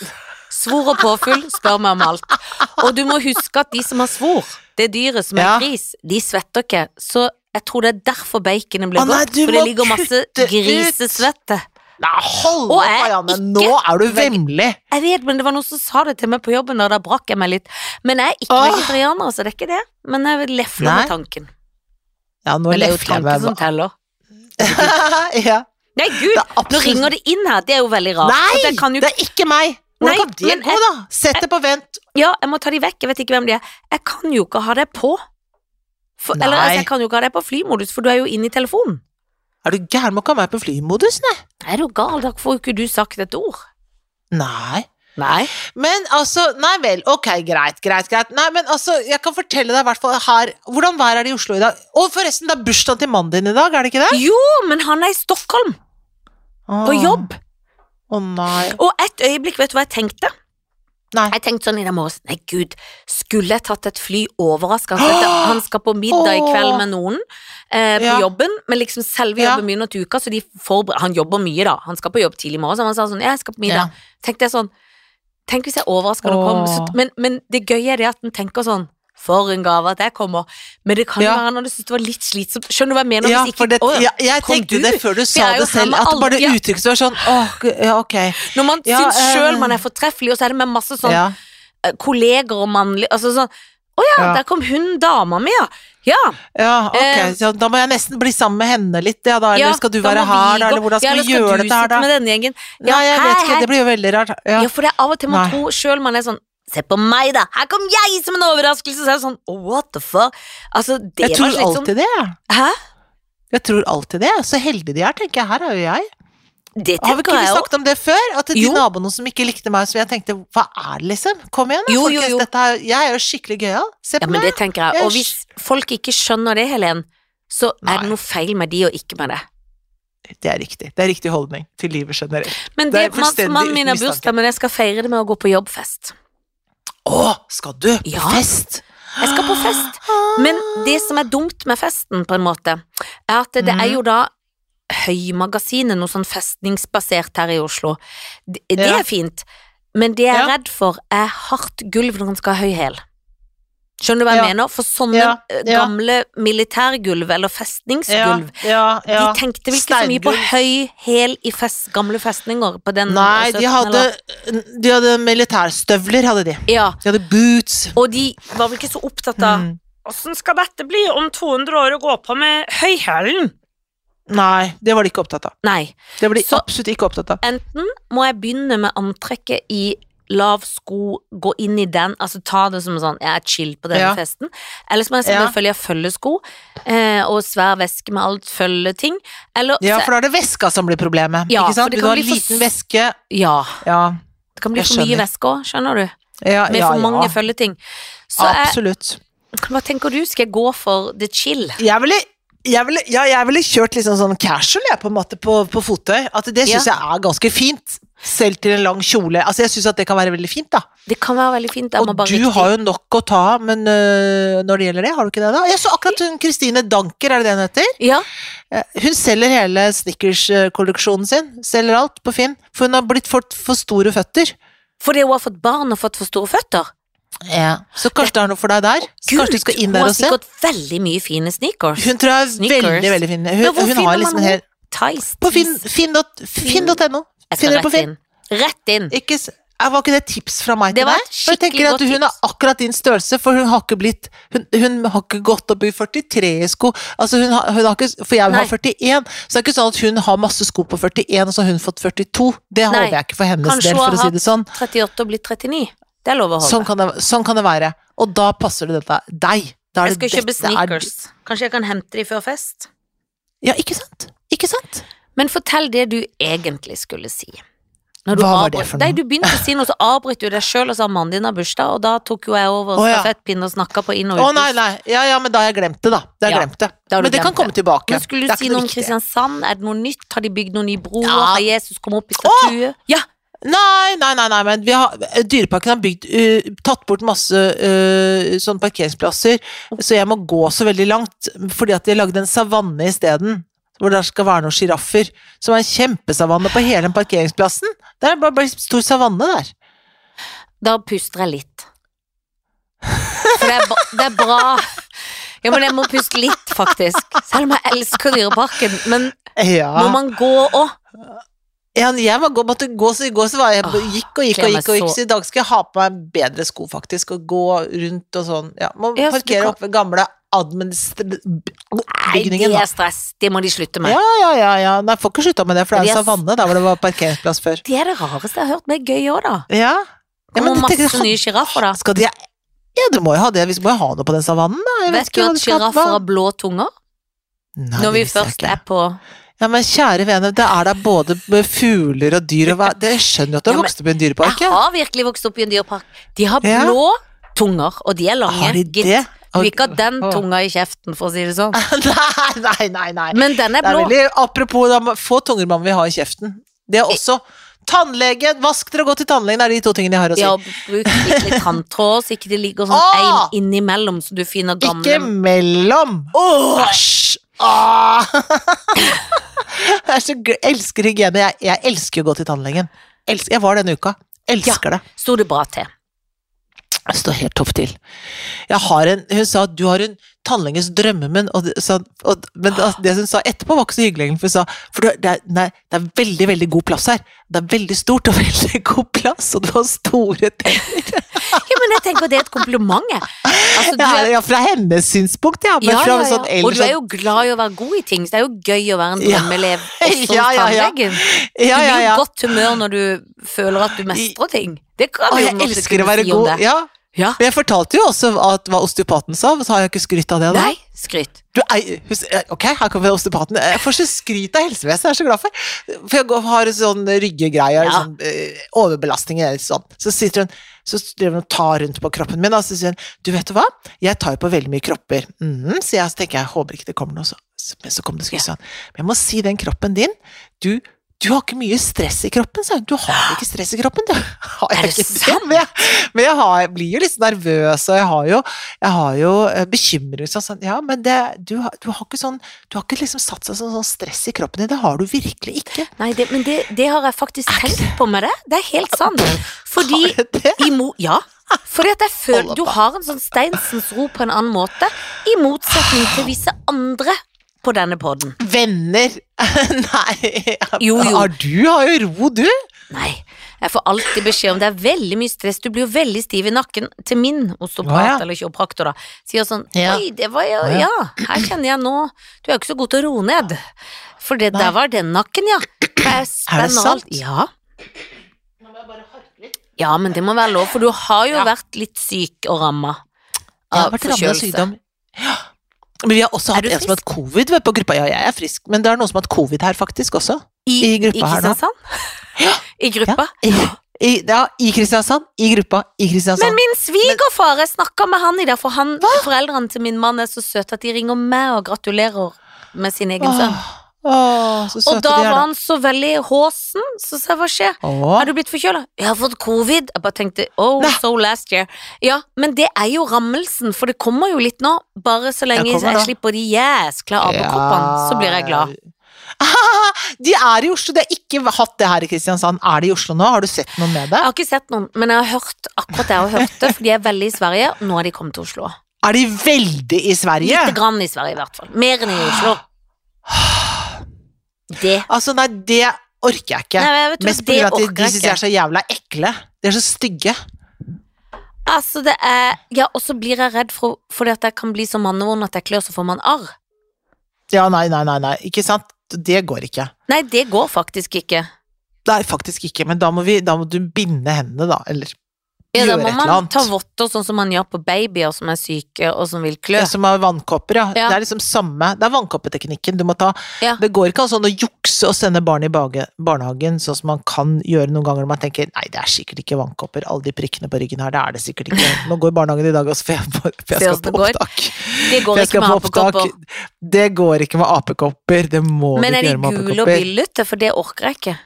Speaker 2: Svor og påfugl, spør meg om alt. Og du må huske at de som har svor, det dyret som er
Speaker 1: Ja.
Speaker 2: gris, de svetter ikke. Så jeg tror det er derfor baconet
Speaker 1: Å,
Speaker 2: blir
Speaker 1: nei,
Speaker 2: godt,
Speaker 1: du
Speaker 2: for det
Speaker 1: må
Speaker 2: ligger masse
Speaker 1: kutte ut.
Speaker 2: grisesvette.
Speaker 1: Nei, hold
Speaker 2: Og
Speaker 1: opp,
Speaker 2: jeg er
Speaker 1: Marianne.
Speaker 2: ikke
Speaker 1: Nå er du
Speaker 2: veg-
Speaker 1: vemmelig.
Speaker 2: Jeg vet, men det var noen som sa det til meg på jobben, og da brakk jeg meg litt. Men jeg er ikke
Speaker 1: Åh.
Speaker 2: vegetarianer, så det er ikke det. Men jeg lefler
Speaker 1: Nei.
Speaker 2: med tanken.
Speaker 1: Ja, nå
Speaker 2: Men det er jo
Speaker 1: lefler jeg
Speaker 2: tanken
Speaker 1: meg
Speaker 2: som teller.
Speaker 1: ja.
Speaker 2: Nei,
Speaker 1: Det
Speaker 2: gud,
Speaker 1: er
Speaker 2: nå
Speaker 1: absolutt
Speaker 2: ringer det inn her, det er jo veldig rart.
Speaker 1: Nei,
Speaker 2: at jeg kan jo
Speaker 1: det er ikke meg! Hvordan
Speaker 2: Nei,
Speaker 1: kan det
Speaker 2: men
Speaker 1: gå, da? Sett det på vent.
Speaker 2: Ja, jeg må ta de vekk, jeg vet ikke hvem de er. Jeg kan jo ikke ha deg på. For, eller
Speaker 1: Nei.
Speaker 2: altså, jeg kan jo ikke ha deg på flymodus, for du er jo inne i telefonen.
Speaker 1: Er du gæren? Må ikke ha meg på flymodus, nei.
Speaker 2: Er du gal, da får jo ikke du sagt et ord.
Speaker 1: Nei.
Speaker 2: Nei.
Speaker 1: Men altså, nei vel, ok, greit, greit, greit. Nei, men altså, jeg kan fortelle deg i hvert fall her Hvordan vær er det i Oslo i dag? Og forresten, det er bursdagen til mannen din i dag, er det ikke det?
Speaker 2: Jo, men han er i Stockholm, på
Speaker 1: Åh,
Speaker 2: jobb.
Speaker 1: Å nei.
Speaker 2: Og et øyeblikk, vet du hva jeg tenkte?
Speaker 1: Nei.
Speaker 2: Jeg tenkte sånn i dag morges, nei gud, skulle jeg tatt et fly overraskende? For dette- Han skal på middag i kveld med noen eh, på
Speaker 1: Ja.
Speaker 2: jobben, men liksom selve
Speaker 1: Ja.
Speaker 2: jobben begynner til uka, så de forber- han jobber mye da. Han skal på jobb tidlig i morgen, så han sa sånn, jeg skal på
Speaker 1: Ja.
Speaker 2: middag. tenkte jeg sånn Tenk hvis jeg overrasker når
Speaker 1: Åh.
Speaker 2: du kommer. Så, men, men det gøye er det at en tenker sånn For en gave at jeg kommer. Men det kan jo
Speaker 1: Ja.
Speaker 2: være når du syns det var litt slitsomt. Skjønner du hva jeg mener?
Speaker 1: Ja,
Speaker 2: hvis ikke,
Speaker 1: for det,
Speaker 2: Åh,
Speaker 1: ja, jeg
Speaker 2: kom
Speaker 1: tenkte
Speaker 2: du?
Speaker 1: det før du sa
Speaker 2: er jo
Speaker 1: det
Speaker 2: her
Speaker 1: selv,
Speaker 2: med
Speaker 1: at det bare
Speaker 2: alle- ja.
Speaker 1: uttrykket som var sånn åh, gu- ja, ok.
Speaker 2: Når man
Speaker 1: Ja,
Speaker 2: syns sjøl
Speaker 1: eh.
Speaker 2: man er fortreffelig, og så er det med masse sånn
Speaker 1: Ja.
Speaker 2: eh, kolleger og mannlig Altså sånn Å ja,
Speaker 1: Ja.
Speaker 2: der kom hun dama mi, ja. Ja,
Speaker 1: ja, ok.
Speaker 2: Eh.
Speaker 1: Så da må jeg nesten bli sammen med henne litt, ja da.
Speaker 2: ja
Speaker 1: Eller skal du
Speaker 2: da
Speaker 1: være
Speaker 2: må
Speaker 1: her, da?
Speaker 2: gå-
Speaker 1: Eller hvordan
Speaker 2: ja,
Speaker 1: skal vi
Speaker 2: eller
Speaker 1: gjøre
Speaker 2: du
Speaker 1: dette her,
Speaker 2: sitte
Speaker 1: da?
Speaker 2: med denne gjengen?
Speaker 1: Nei, jeg
Speaker 2: hei,
Speaker 1: vet ikke,
Speaker 2: hei.
Speaker 1: det blir jo veldig rart. Ja.
Speaker 2: Ja, for det er av og til man
Speaker 1: Nei.
Speaker 2: tror sjøl man er sånn Se på meg, da! Her kom jeg som en overraskelse! Så er det sånn oh, What the fuck? Altså,
Speaker 1: Jeg
Speaker 2: det var
Speaker 1: tror
Speaker 2: litt sånn
Speaker 1: alltid det, jeg.
Speaker 2: Hæ?
Speaker 1: Jeg tror alltid det. Så heldig de er, tenker jeg. Her er jo jeg.
Speaker 2: Det
Speaker 1: Har vi ikke
Speaker 2: tenker
Speaker 1: vi
Speaker 2: jeg òg.
Speaker 1: snakket om det før? At de
Speaker 2: Jo.
Speaker 1: naboene som ikke likte meg, som jeg tenkte hva er det, liksom? Kom igjen, da,
Speaker 2: Jo, jo,
Speaker 1: folkens.
Speaker 2: jo.
Speaker 1: Dette er, jeg er jo skikkelig gøyal. Se
Speaker 2: Ja,
Speaker 1: på
Speaker 2: men
Speaker 1: meg.
Speaker 2: det tenker jeg. Og hvis folk ikke skjønner det, Helen, så er
Speaker 1: Nei.
Speaker 2: det noe feil med de og ikke med det.
Speaker 1: Det er riktig. Det er riktig holdning til livet generelt.
Speaker 2: Men
Speaker 1: Det
Speaker 2: det,
Speaker 1: er
Speaker 2: man-
Speaker 1: fullstendig
Speaker 2: mannen min har
Speaker 1: uten mistanke.
Speaker 2: bursdag, men jeg skal feire det med å gå på jobbfest.
Speaker 1: Å, skal du? På
Speaker 2: Ja.
Speaker 1: fest?
Speaker 2: Jeg skal på fest.
Speaker 1: Ah.
Speaker 2: Men det som er dumt med festen, på en måte, er at det er
Speaker 1: Mhm.
Speaker 2: jo da Høymagasinet, noe sånn festningsbasert her i Oslo. Det, det
Speaker 1: Ja.
Speaker 2: er fint, men det jeg er
Speaker 1: Ja.
Speaker 2: redd for, er hardt gulv når en skal ha høy hæl. Skjønner du hva jeg
Speaker 1: Ja.
Speaker 2: mener? For sånne
Speaker 1: Ja,
Speaker 2: eh,
Speaker 1: ja.
Speaker 2: gamle militærgulv eller festningsgulv
Speaker 1: ja, ja.
Speaker 2: De tenkte vel ikke så mye på
Speaker 1: Steingulv.
Speaker 2: høy hæl i fest, gamle festninger på den
Speaker 1: Nei, de
Speaker 2: 17
Speaker 1: hadde,
Speaker 2: eller-
Speaker 1: de hadde militærstøvler, hadde de.
Speaker 2: Ja,
Speaker 1: De hadde boots.
Speaker 2: og de var vel ikke så opptatt av
Speaker 1: Mm.
Speaker 2: Åssen skal dette bli om 200 år å gå på med høyhælen?
Speaker 1: Nei, det var de ikke opptatt av.
Speaker 2: Nei.
Speaker 1: Det var de
Speaker 2: Så-
Speaker 1: absolutt ikke opptatt av.
Speaker 2: Enten må jeg begynne med antrekket i lav sko, gå inn i den, altså ta det som en sånn jeg er chill på denne
Speaker 1: Ja.
Speaker 2: festen, eller så må jeg selvfølgelig ha følgesko eh, og svær veske med alt følgeting, eller
Speaker 1: Ja, for da er det veska som blir problemet.
Speaker 2: Ja,
Speaker 1: ikke
Speaker 2: for
Speaker 1: sant?
Speaker 2: det
Speaker 1: Vil du
Speaker 2: kan
Speaker 1: ha
Speaker 2: bli
Speaker 1: en
Speaker 2: for
Speaker 1: liten
Speaker 2: s-
Speaker 1: veske
Speaker 2: ja,
Speaker 1: Ja,
Speaker 2: det kan bli
Speaker 1: Jeg
Speaker 2: for mye
Speaker 1: skjønner.
Speaker 2: veske òg, skjønner du,
Speaker 1: ja,
Speaker 2: med
Speaker 1: ja.
Speaker 2: for mange
Speaker 1: ja.
Speaker 2: følgeting. Så jeg,
Speaker 1: Absolutt.
Speaker 2: hva tenker du, skal jeg gå for the chill?
Speaker 1: Jeg ville jeg ville, ja, jeg ville kjørt litt sånn sånn casual jeg, på en måte på, på fottøy. At det syns jeg er ganske fint. Selv til en lang kjole. Altså, jeg syns at det kan være veldig fint, da.
Speaker 2: Det kan være veldig fint, jeg
Speaker 1: Og
Speaker 2: må bare
Speaker 1: du har jo nok å ta av, men øh, når det gjelder det, har du ikke det, da? Jeg så akkurat hun Kristine Danker, er det det hun heter?
Speaker 2: Ja,
Speaker 1: Eh, Hun selger hele Snickers-kolleksjonen sin. Selger alt på Finn. For hun har blitt fått for store føtter.
Speaker 2: fordi hun har fått barn og fått for store føtter.
Speaker 1: Så kanskje det er noe for deg der? Så kanskje du skal inn der og se?
Speaker 2: Hun har sikkert veldig mye fine sneakers.
Speaker 1: Hun tror jeg er
Speaker 2: Snickers.
Speaker 1: veldig, veldig fin.
Speaker 2: Men
Speaker 1: Hun,
Speaker 2: hvor
Speaker 1: hun
Speaker 2: finner
Speaker 1: har liksom
Speaker 2: man
Speaker 1: en hel
Speaker 2: Tice.
Speaker 1: På finn.no. Finn, dot- finn.no.
Speaker 2: Jeg skal
Speaker 1: Finner det på
Speaker 2: rett
Speaker 1: Finn.
Speaker 2: inn. Rett inn.
Speaker 1: Ikke, s- Eh, var ikke det et tips fra meg
Speaker 2: Det
Speaker 1: til
Speaker 2: var
Speaker 1: deg?
Speaker 2: et
Speaker 1: For jeg tenker
Speaker 2: skikkelig
Speaker 1: at
Speaker 2: godt
Speaker 1: Hun er
Speaker 2: tips.
Speaker 1: akkurat din størrelse, for hun har ikke blitt Hun, hun har ikke gått opp i 43 i sko. Altså hun har, hun har ikke, for jeg
Speaker 2: Nei.
Speaker 1: har 41, så det er ikke sånn at hun har masse sko på 41, og så har hun fått 42. Det
Speaker 2: Nei.
Speaker 1: håper jeg ikke for hennes
Speaker 2: Kanskje
Speaker 1: del,
Speaker 2: hun
Speaker 1: for å
Speaker 2: har
Speaker 1: si det sånn.
Speaker 2: 38 og blitt 39. Det er lov å håpe.
Speaker 1: Sånn kan det, sånn kan det være. Og da passer det dette deg. Da er
Speaker 2: jeg skal
Speaker 1: det
Speaker 2: jo kjøpe
Speaker 1: dette er-
Speaker 2: sneakers. Kanskje jeg kan hente de før fest?
Speaker 1: Ja, ikke sant? Ikke sant?
Speaker 2: Men fortell det du egentlig skulle si. Når
Speaker 1: Hva var det
Speaker 2: avbrøt-
Speaker 1: for
Speaker 2: Nei,
Speaker 1: noe?
Speaker 2: du begynte å si noe, så avbrøt du deg sjøl og sa mannen din har bursdag, og da tok jo jeg over
Speaker 1: Å, ja.
Speaker 2: stafettpinnen og snakka på inn- og
Speaker 1: Å nei,
Speaker 2: utpust.
Speaker 1: nei. Ja, ja, men da har jeg glemt det, da. Da har jeg
Speaker 2: Ja,
Speaker 1: glemt det.
Speaker 2: da har du
Speaker 1: Men det kan
Speaker 2: glemt
Speaker 1: komme tilbake.
Speaker 2: Men
Speaker 1: Det
Speaker 2: skulle du
Speaker 1: er
Speaker 2: si
Speaker 1: ikke
Speaker 2: noe om
Speaker 1: viktig.
Speaker 2: Kristiansand? Er det noe nytt? Har de bygd noen nye broer?
Speaker 1: Ja.
Speaker 2: Har Jesus kommet opp i statue? Ja!
Speaker 1: Nei, nei, nei, nei men vi har, Dyreparken har bygd, eh, tatt bort masse eh, sånne parkeringsplasser, så jeg må gå så veldig langt, fordi at de lagde en savanne isteden. Hvor det skal være noen sjiraffer. Som er en kjempesavanne på hele den parkeringsplassen. Det er bare, bare stor savanne der.
Speaker 2: Da puster jeg litt. For det er, ba- det er bra. Ja, men jeg må puste litt, faktisk. Selv om jeg elsker Dyreparken. Men
Speaker 1: Ja.
Speaker 2: må man gå òg?
Speaker 1: ja jeg må gå, måtte gå, så i går så var jeg gikk og gikk
Speaker 2: kler
Speaker 1: og
Speaker 2: meg
Speaker 1: gikk, og gikk,
Speaker 2: så-
Speaker 1: så i dag skal jeg ha på meg bedre sko, faktisk, og gå rundt og sånn. Ja, Må
Speaker 2: Ja, så du
Speaker 1: parkere
Speaker 2: kan-
Speaker 1: oppe ved gamle
Speaker 2: Nei, det
Speaker 1: administrbygningen, da.
Speaker 2: er stress. Det må de slutte med.
Speaker 1: Ja, ja, ja, ja. Nei, får ikke slutta med det, for det er
Speaker 2: Yes.
Speaker 1: en savanne der hvor det var parkeringsplass før.
Speaker 2: Det er det rareste jeg har hørt, men det er gøy òg, da.
Speaker 1: Ja, ja
Speaker 2: Kommer
Speaker 1: det tenker
Speaker 2: masse
Speaker 1: jeg- sånn-
Speaker 2: nye sjiraffer, da.
Speaker 1: Skal de Ja, du må jo ha det. Vi må jo ha noe på den savannen, da. Jeg
Speaker 2: Vet du
Speaker 1: hva
Speaker 2: at
Speaker 1: det skal-
Speaker 2: sjiraffer
Speaker 1: hva-
Speaker 2: har blå tunger?
Speaker 1: Nei,
Speaker 2: Når vi
Speaker 1: det visste jeg
Speaker 2: først
Speaker 1: ikke.
Speaker 2: er på
Speaker 1: Ja, men kjære vene, det er da både med fugler og dyr og hva Dere skjønner jo at du har
Speaker 2: Ja, men-
Speaker 1: vokst opp i en dyrepark,
Speaker 2: Jeg
Speaker 1: ja?
Speaker 2: har virkelig vokst opp i en dyrepark. De har
Speaker 1: Ja.
Speaker 2: blå tunger, og de er lange.
Speaker 1: Har de
Speaker 2: gitt.
Speaker 1: det?
Speaker 2: Du vil ikke ha den
Speaker 1: Å.
Speaker 2: tunga i kjeften, for å si det sånn.
Speaker 1: Nei, nei, nei. nei.
Speaker 2: Men den er
Speaker 1: Det er
Speaker 2: blå.
Speaker 1: veldig, apropos da, få tunger man vil ha i kjeften. Det er også Tannlege, vask dere og gå til tannlegen, det er de to tingene jeg har å si.
Speaker 2: Ja, bruk skikkelig tanntråd, så ikke det ligger sånn
Speaker 1: Ah!
Speaker 2: ah! innimellom, så du finner gamle
Speaker 1: Ikke mellom! Æsj! Ah. jeg, er så gl- elsker hygiene. Jeg, jeg elsker å gå til tannlegen. Elsker, jeg var denne uka. Elsker det.
Speaker 2: Sto det bra til?
Speaker 1: Jeg står helt topp til. Jeg har en, hun sa at du har en tannlegens drømmemunn, og, det- sa- og, men det, det hun sa etterpå, var ikke så hyggelig. egentlig, For, hun sa, for du har- det, er, nei, det er veldig, veldig god plass her. Det er veldig stort og veldig god plass, og du har store tenner.
Speaker 2: Ja, men jeg tenker det er et kompliment, jeg. Altså, du
Speaker 1: Ja,
Speaker 2: er,
Speaker 1: ja, fra hennes synspunkt, ja. Men
Speaker 2: ja,
Speaker 1: fra
Speaker 2: ja,
Speaker 1: en
Speaker 2: ja.
Speaker 1: sånn eldre
Speaker 2: Og du er jo glad i å være god i ting, så det er jo gøy å være en
Speaker 1: Ja.
Speaker 2: drømmeelev også hos
Speaker 1: sånn- Ja, ja, ja.
Speaker 2: tannlegen.
Speaker 1: sånn- ja,
Speaker 2: Du
Speaker 1: ja,
Speaker 2: blir jo
Speaker 1: ja.
Speaker 2: godt humør når du føler at du mestrer ting. Det kan
Speaker 1: Å,
Speaker 2: vi jo
Speaker 1: jeg
Speaker 2: måtte
Speaker 1: elsker å
Speaker 2: kunne
Speaker 1: være
Speaker 2: si om
Speaker 1: god.
Speaker 2: det.
Speaker 1: Ja,
Speaker 2: Ja.
Speaker 1: Men jeg fortalte jo også at hva osteopaten sa, så har jeg ikke skrytt av det. da.
Speaker 2: Nei, skryt.
Speaker 1: Du, ei, hus, eh, ok, her kommer osteopaten. Jeg får så skryt av helsevesenet, jeg er så glad for. For jeg går- har en sånn ryggegreie,
Speaker 2: Ja.
Speaker 1: sånn, eh, overbelastning eller sånn. Så sitter hun så driver hun og tar rundt på kroppen min, og så sier hun du vet du hva, jeg tar jo på veldig mye kropper. Mhm, så jeg så tenker jeg håper ikke det kommer noe, så, så, men så kom det skryt sånn. Men jeg må si den kroppen din, du du har ikke mye stress i kroppen, sa hun. Du har ikke stress i kroppen, du. Har jeg
Speaker 2: Er det
Speaker 1: ikke Men jeg, men jeg, har, jeg blir jo litt nervøs, og jeg har jo, jeg har jo eh, bekymring. Sånn, sånn, ja, men det, du, har- du har ikke sånn Du har ikke liksom satt seg sånn, sånn stress i kroppen din. Det har du virkelig ikke.
Speaker 2: Nei, det, men det, det har jeg faktisk tenkt på med det. Det er helt sant. Fordi
Speaker 1: Har du det?
Speaker 2: I Mo ja, Fordi at jeg føler
Speaker 1: Holder
Speaker 2: Du
Speaker 1: på.
Speaker 2: har en sånn Steinsens ro på en annen måte, i motsetning til visse andre på denne poden.
Speaker 1: Venner? Nei.
Speaker 2: Jo, jo.
Speaker 1: Har du har jo ro, du.
Speaker 2: Nei. Jeg får alltid beskjed om det er veldig mye stress, du blir jo veldig stiv i nakken til min osteopat
Speaker 1: Å, ja.
Speaker 2: eller kiropraktor, da. Sier sånn
Speaker 1: Ja.
Speaker 2: Oi, det var jo
Speaker 1: Å, ja.
Speaker 2: Ja, her kjenner jeg nå Du er jo ikke så god til å roe ned. For det
Speaker 1: Nei.
Speaker 2: der var den nakken, ja. For jeg spenner
Speaker 1: sant?
Speaker 2: alt. Ja. Ja, men det må være lov, for du har jo
Speaker 1: Ja.
Speaker 2: vært litt syk og ramma
Speaker 1: Jeg har
Speaker 2: av
Speaker 1: vært rammet av
Speaker 2: forkjølelse.
Speaker 1: sykdom. Ja. Men vi har også
Speaker 2: Er
Speaker 1: hatt
Speaker 2: du
Speaker 1: en som har hatt covid vet, på gruppa. Ja, jeg er frisk, men det er noen som har hatt covid her faktisk også. i gruppa her nå.
Speaker 2: Kristiansand?
Speaker 1: Ja. altså.
Speaker 2: I gruppa?
Speaker 1: I, i, ja, i Kristiansand. I gruppa i Kristiansand.
Speaker 2: Men min svigerfar, jeg snakka med han i dag, for han, foreldrene til min mann er så søte at de ringer meg og gratulerer med sin egen sønn.
Speaker 1: Åh, åh, så søte
Speaker 2: Og da
Speaker 1: de er,
Speaker 2: var han så veldig håsen, så sa jeg hva skjer?
Speaker 1: Åh.
Speaker 2: Har du blitt forkjøla? Jeg har fått covid. Jeg bare tenkte oh,
Speaker 1: Nei.
Speaker 2: so last year. Ja, men det er jo rammelsen, for det kommer jo litt nå. Bare så lenge
Speaker 1: Det kommer
Speaker 2: jeg
Speaker 1: nå.
Speaker 2: slipper de jæskla abekoppene, så blir jeg glad.
Speaker 1: Ah, de er i Oslo. De har ikke hatt det her i Kristiansand. Er de i Oslo nå? Har du sett noe med det?
Speaker 2: Jeg har ikke sett noen, men jeg har hørt akkurat det jeg har hørt det, for de er veldig i Sverige. og Nå har de kommet til Oslo.
Speaker 1: Er de veldig i Sverige?
Speaker 2: Lite grann i Sverige, i hvert fall. Mer enn i Oslo. Det
Speaker 1: Altså, nei, det orker jeg ikke.
Speaker 2: Nei, men vet du,
Speaker 1: Mest
Speaker 2: hva,
Speaker 1: pga.
Speaker 2: det
Speaker 1: at de,
Speaker 2: orker
Speaker 1: de
Speaker 2: jeg
Speaker 1: syns de
Speaker 2: ikke.
Speaker 1: er så jævla ekle. De er så stygge.
Speaker 2: Altså, det er Ja, og så blir jeg redd for, fordi at jeg kan bli så mannevond at jeg klør, så får man arr.
Speaker 1: Ja, nei, nei, nei, nei. Ikke sant? Det går ikke.
Speaker 2: Nei, det går faktisk ikke.
Speaker 1: Nei, faktisk ikke, men da må, vi, da må du binde hendene, da. Eller
Speaker 2: Ja, da
Speaker 1: gjøre
Speaker 2: må
Speaker 1: et eller
Speaker 2: man
Speaker 1: annet.
Speaker 2: ta votter, sånn som man gjør på babyer som er syke, og som vil klø.
Speaker 1: Ja, som har vannkopper, ja.
Speaker 2: Ja.
Speaker 1: Det er liksom samme Det er vannkoppeteknikken du må ta.
Speaker 2: Ja.
Speaker 1: Det går ikke an sånn å jukse og sende barn i bage, barnehagen, sånn som man kan gjøre noen ganger når man tenker nei, det er sikkert ikke vannkopper, alle de prikkene på ryggen her, det er det sikkert ikke. Nå går barnehagen i dag også, for jeg, for jeg
Speaker 2: Se
Speaker 1: skal
Speaker 2: hvordan
Speaker 1: på
Speaker 2: det går.
Speaker 1: opptak.
Speaker 2: Det
Speaker 1: For
Speaker 2: går
Speaker 1: jeg
Speaker 2: ikke
Speaker 1: skal
Speaker 2: med
Speaker 1: på opptak.
Speaker 2: apekopper.
Speaker 1: Det går ikke med apekopper. Det må
Speaker 2: Men
Speaker 1: du ikke
Speaker 2: er de
Speaker 1: gjøre med
Speaker 2: gule og
Speaker 1: apekopper.
Speaker 2: byllete? For det orker jeg ikke.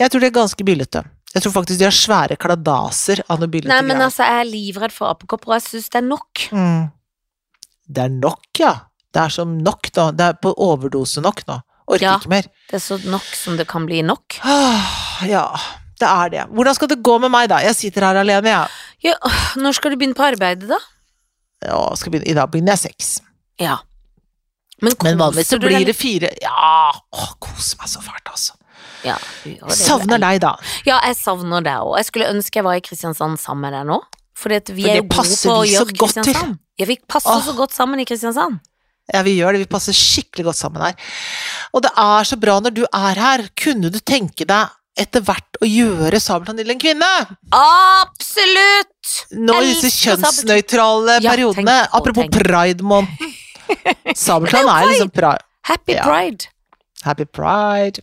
Speaker 1: Jeg tror de er ganske byllete. Jeg tror faktisk de har svære kladaser av noe byllete
Speaker 2: Nei, men
Speaker 1: greier.
Speaker 2: altså, jeg er livredd for apekopper, og jeg syns det er nok.
Speaker 1: Mm. Det er nok, ja. Det er som nok, da. Det er på overdose nok nå. Orker
Speaker 2: Ja.
Speaker 1: ikke mer.
Speaker 2: Det er så nok som det kan bli nok.
Speaker 1: Ah, Ja, det er det. Hvordan skal det gå med meg, da? Jeg sitter her alene, jeg.
Speaker 2: Ja, åh, når skal du begynne på arbeidet, da?
Speaker 1: Ja, skal begynne, I dag begynner jeg seks.
Speaker 2: Ja. Men,
Speaker 1: Men vanligvis
Speaker 2: koser
Speaker 1: så
Speaker 2: du
Speaker 1: blir
Speaker 2: deg
Speaker 1: det
Speaker 2: litt?
Speaker 1: fire. Ja, åh, koser meg så fælt, altså.
Speaker 2: ja, du gjør det.
Speaker 1: Savner deg, da.
Speaker 2: Ja, jeg savner deg òg. Jeg skulle ønske jeg var i Kristiansand sammen med deg nå. Fordi at vi
Speaker 1: For
Speaker 2: er
Speaker 1: det
Speaker 2: jo gode
Speaker 1: passer
Speaker 2: på å
Speaker 1: vi så
Speaker 2: gjøre
Speaker 1: godt til.
Speaker 2: Kristiansand. Ja, vi passer
Speaker 1: Åh.
Speaker 2: så godt sammen i Kristiansand.
Speaker 1: Ja, vi gjør det. Vi passer skikkelig godt sammen her. Og det er så bra når du er her. Kunne du tenke deg etter hvert å gjøre Sabeltann til en kvinne?
Speaker 2: Absolutt!
Speaker 1: Nå i disse
Speaker 2: Elsker Sabeltann.
Speaker 1: kjønnsnøytrale
Speaker 2: Ja,
Speaker 1: periodene.
Speaker 2: tenk på-
Speaker 1: Apropos
Speaker 2: tenk.
Speaker 1: pride-måneden. Sabeltann er liksom pride.
Speaker 2: Happy
Speaker 1: Ja.
Speaker 2: pride.
Speaker 1: Happy pride.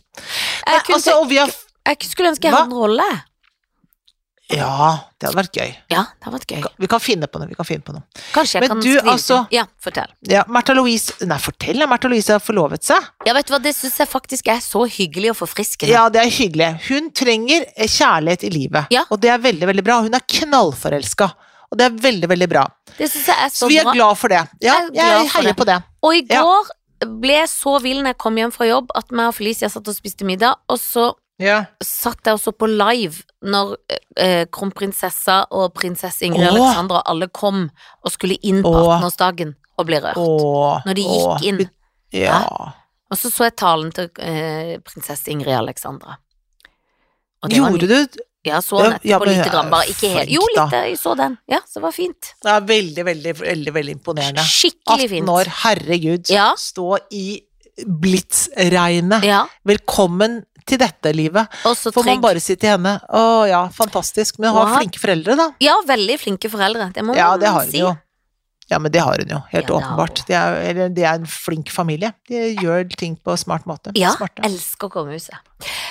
Speaker 1: Nei,
Speaker 2: Jeg, kunne,
Speaker 1: altså, og vi har
Speaker 2: jeg skulle ønske jeg
Speaker 1: Hva?
Speaker 2: hadde en rolle.
Speaker 1: Ja, det hadde vært gøy.
Speaker 2: Ja, det hadde vært gøy.
Speaker 1: Vi kan finne på noe. Vi kan finne på noe.
Speaker 2: Kanskje jeg
Speaker 1: Men
Speaker 2: kan
Speaker 1: du,
Speaker 2: skrive
Speaker 1: altså-
Speaker 2: Ja, fortell.
Speaker 1: Ja, Märtha Louise Nei, fortell deg, Märtha Louise har forlovet seg.
Speaker 2: Ja, vet du hva, det syns jeg faktisk er så hyggelig og forfriskende.
Speaker 1: Ja, det er hyggelig. Hun trenger eh, kjærlighet i livet,
Speaker 2: Ja.
Speaker 1: og det er veldig, veldig bra. Hun er knallforelska, og det er veldig, veldig bra.
Speaker 2: Det syns jeg er så,
Speaker 1: Så vi er
Speaker 2: bra.
Speaker 1: glad for det. Ja,
Speaker 2: Jeg er glad
Speaker 1: jeg
Speaker 2: for
Speaker 1: heier
Speaker 2: det.
Speaker 1: på det.
Speaker 2: Og i
Speaker 1: Ja.
Speaker 2: går ble jeg så vill når jeg kom hjem fra jobb at meg og Felicia satt og spiste middag, og så
Speaker 1: Ja.
Speaker 2: satt jeg også på live når eh, kronprinsessa og prinsesse Ingrid
Speaker 1: Åh.
Speaker 2: Alexandra og alle kom og skulle inn på
Speaker 1: Åh.
Speaker 2: 18-årsdagen og ble rørt.
Speaker 1: Åh,
Speaker 2: Når de
Speaker 1: åh.
Speaker 2: gikk inn.
Speaker 1: Ja.
Speaker 2: Og så så jeg talen til eh, prinsesse Ingrid Alexandra. Og det var,
Speaker 1: Gjorde du?
Speaker 2: Ja, så
Speaker 1: Ja,
Speaker 2: den etterpå
Speaker 1: ja, men
Speaker 2: lite grann, bare ikke
Speaker 1: flink,
Speaker 2: helt. Jo,
Speaker 1: da.
Speaker 2: litt, jeg så den. Ja, så det var fint.
Speaker 1: Det er veldig, veldig, veldig, veldig imponerende.
Speaker 2: Skikkelig
Speaker 1: 18
Speaker 2: fint.
Speaker 1: år, herregud.
Speaker 2: Ja.
Speaker 1: Stå i blitsregnet.
Speaker 2: Ja,
Speaker 1: Velkommen til dette livet.
Speaker 2: og så
Speaker 1: Får man
Speaker 2: trygg.
Speaker 1: bare si til henne Å ja, fantastisk. Men hun har
Speaker 2: Wow.
Speaker 1: flinke foreldre, da.
Speaker 2: Ja, veldig flinke foreldre, det må
Speaker 1: Ja,
Speaker 2: man
Speaker 1: det har hun
Speaker 2: si.
Speaker 1: jo. Ja, men det har hun jo. Helt
Speaker 2: Ja, det har
Speaker 1: åpenbart. Det er, eller, det er en flink familie. De gjør ting på smart måte.
Speaker 2: Ja,
Speaker 1: Smarte.
Speaker 2: elsker kongehuset.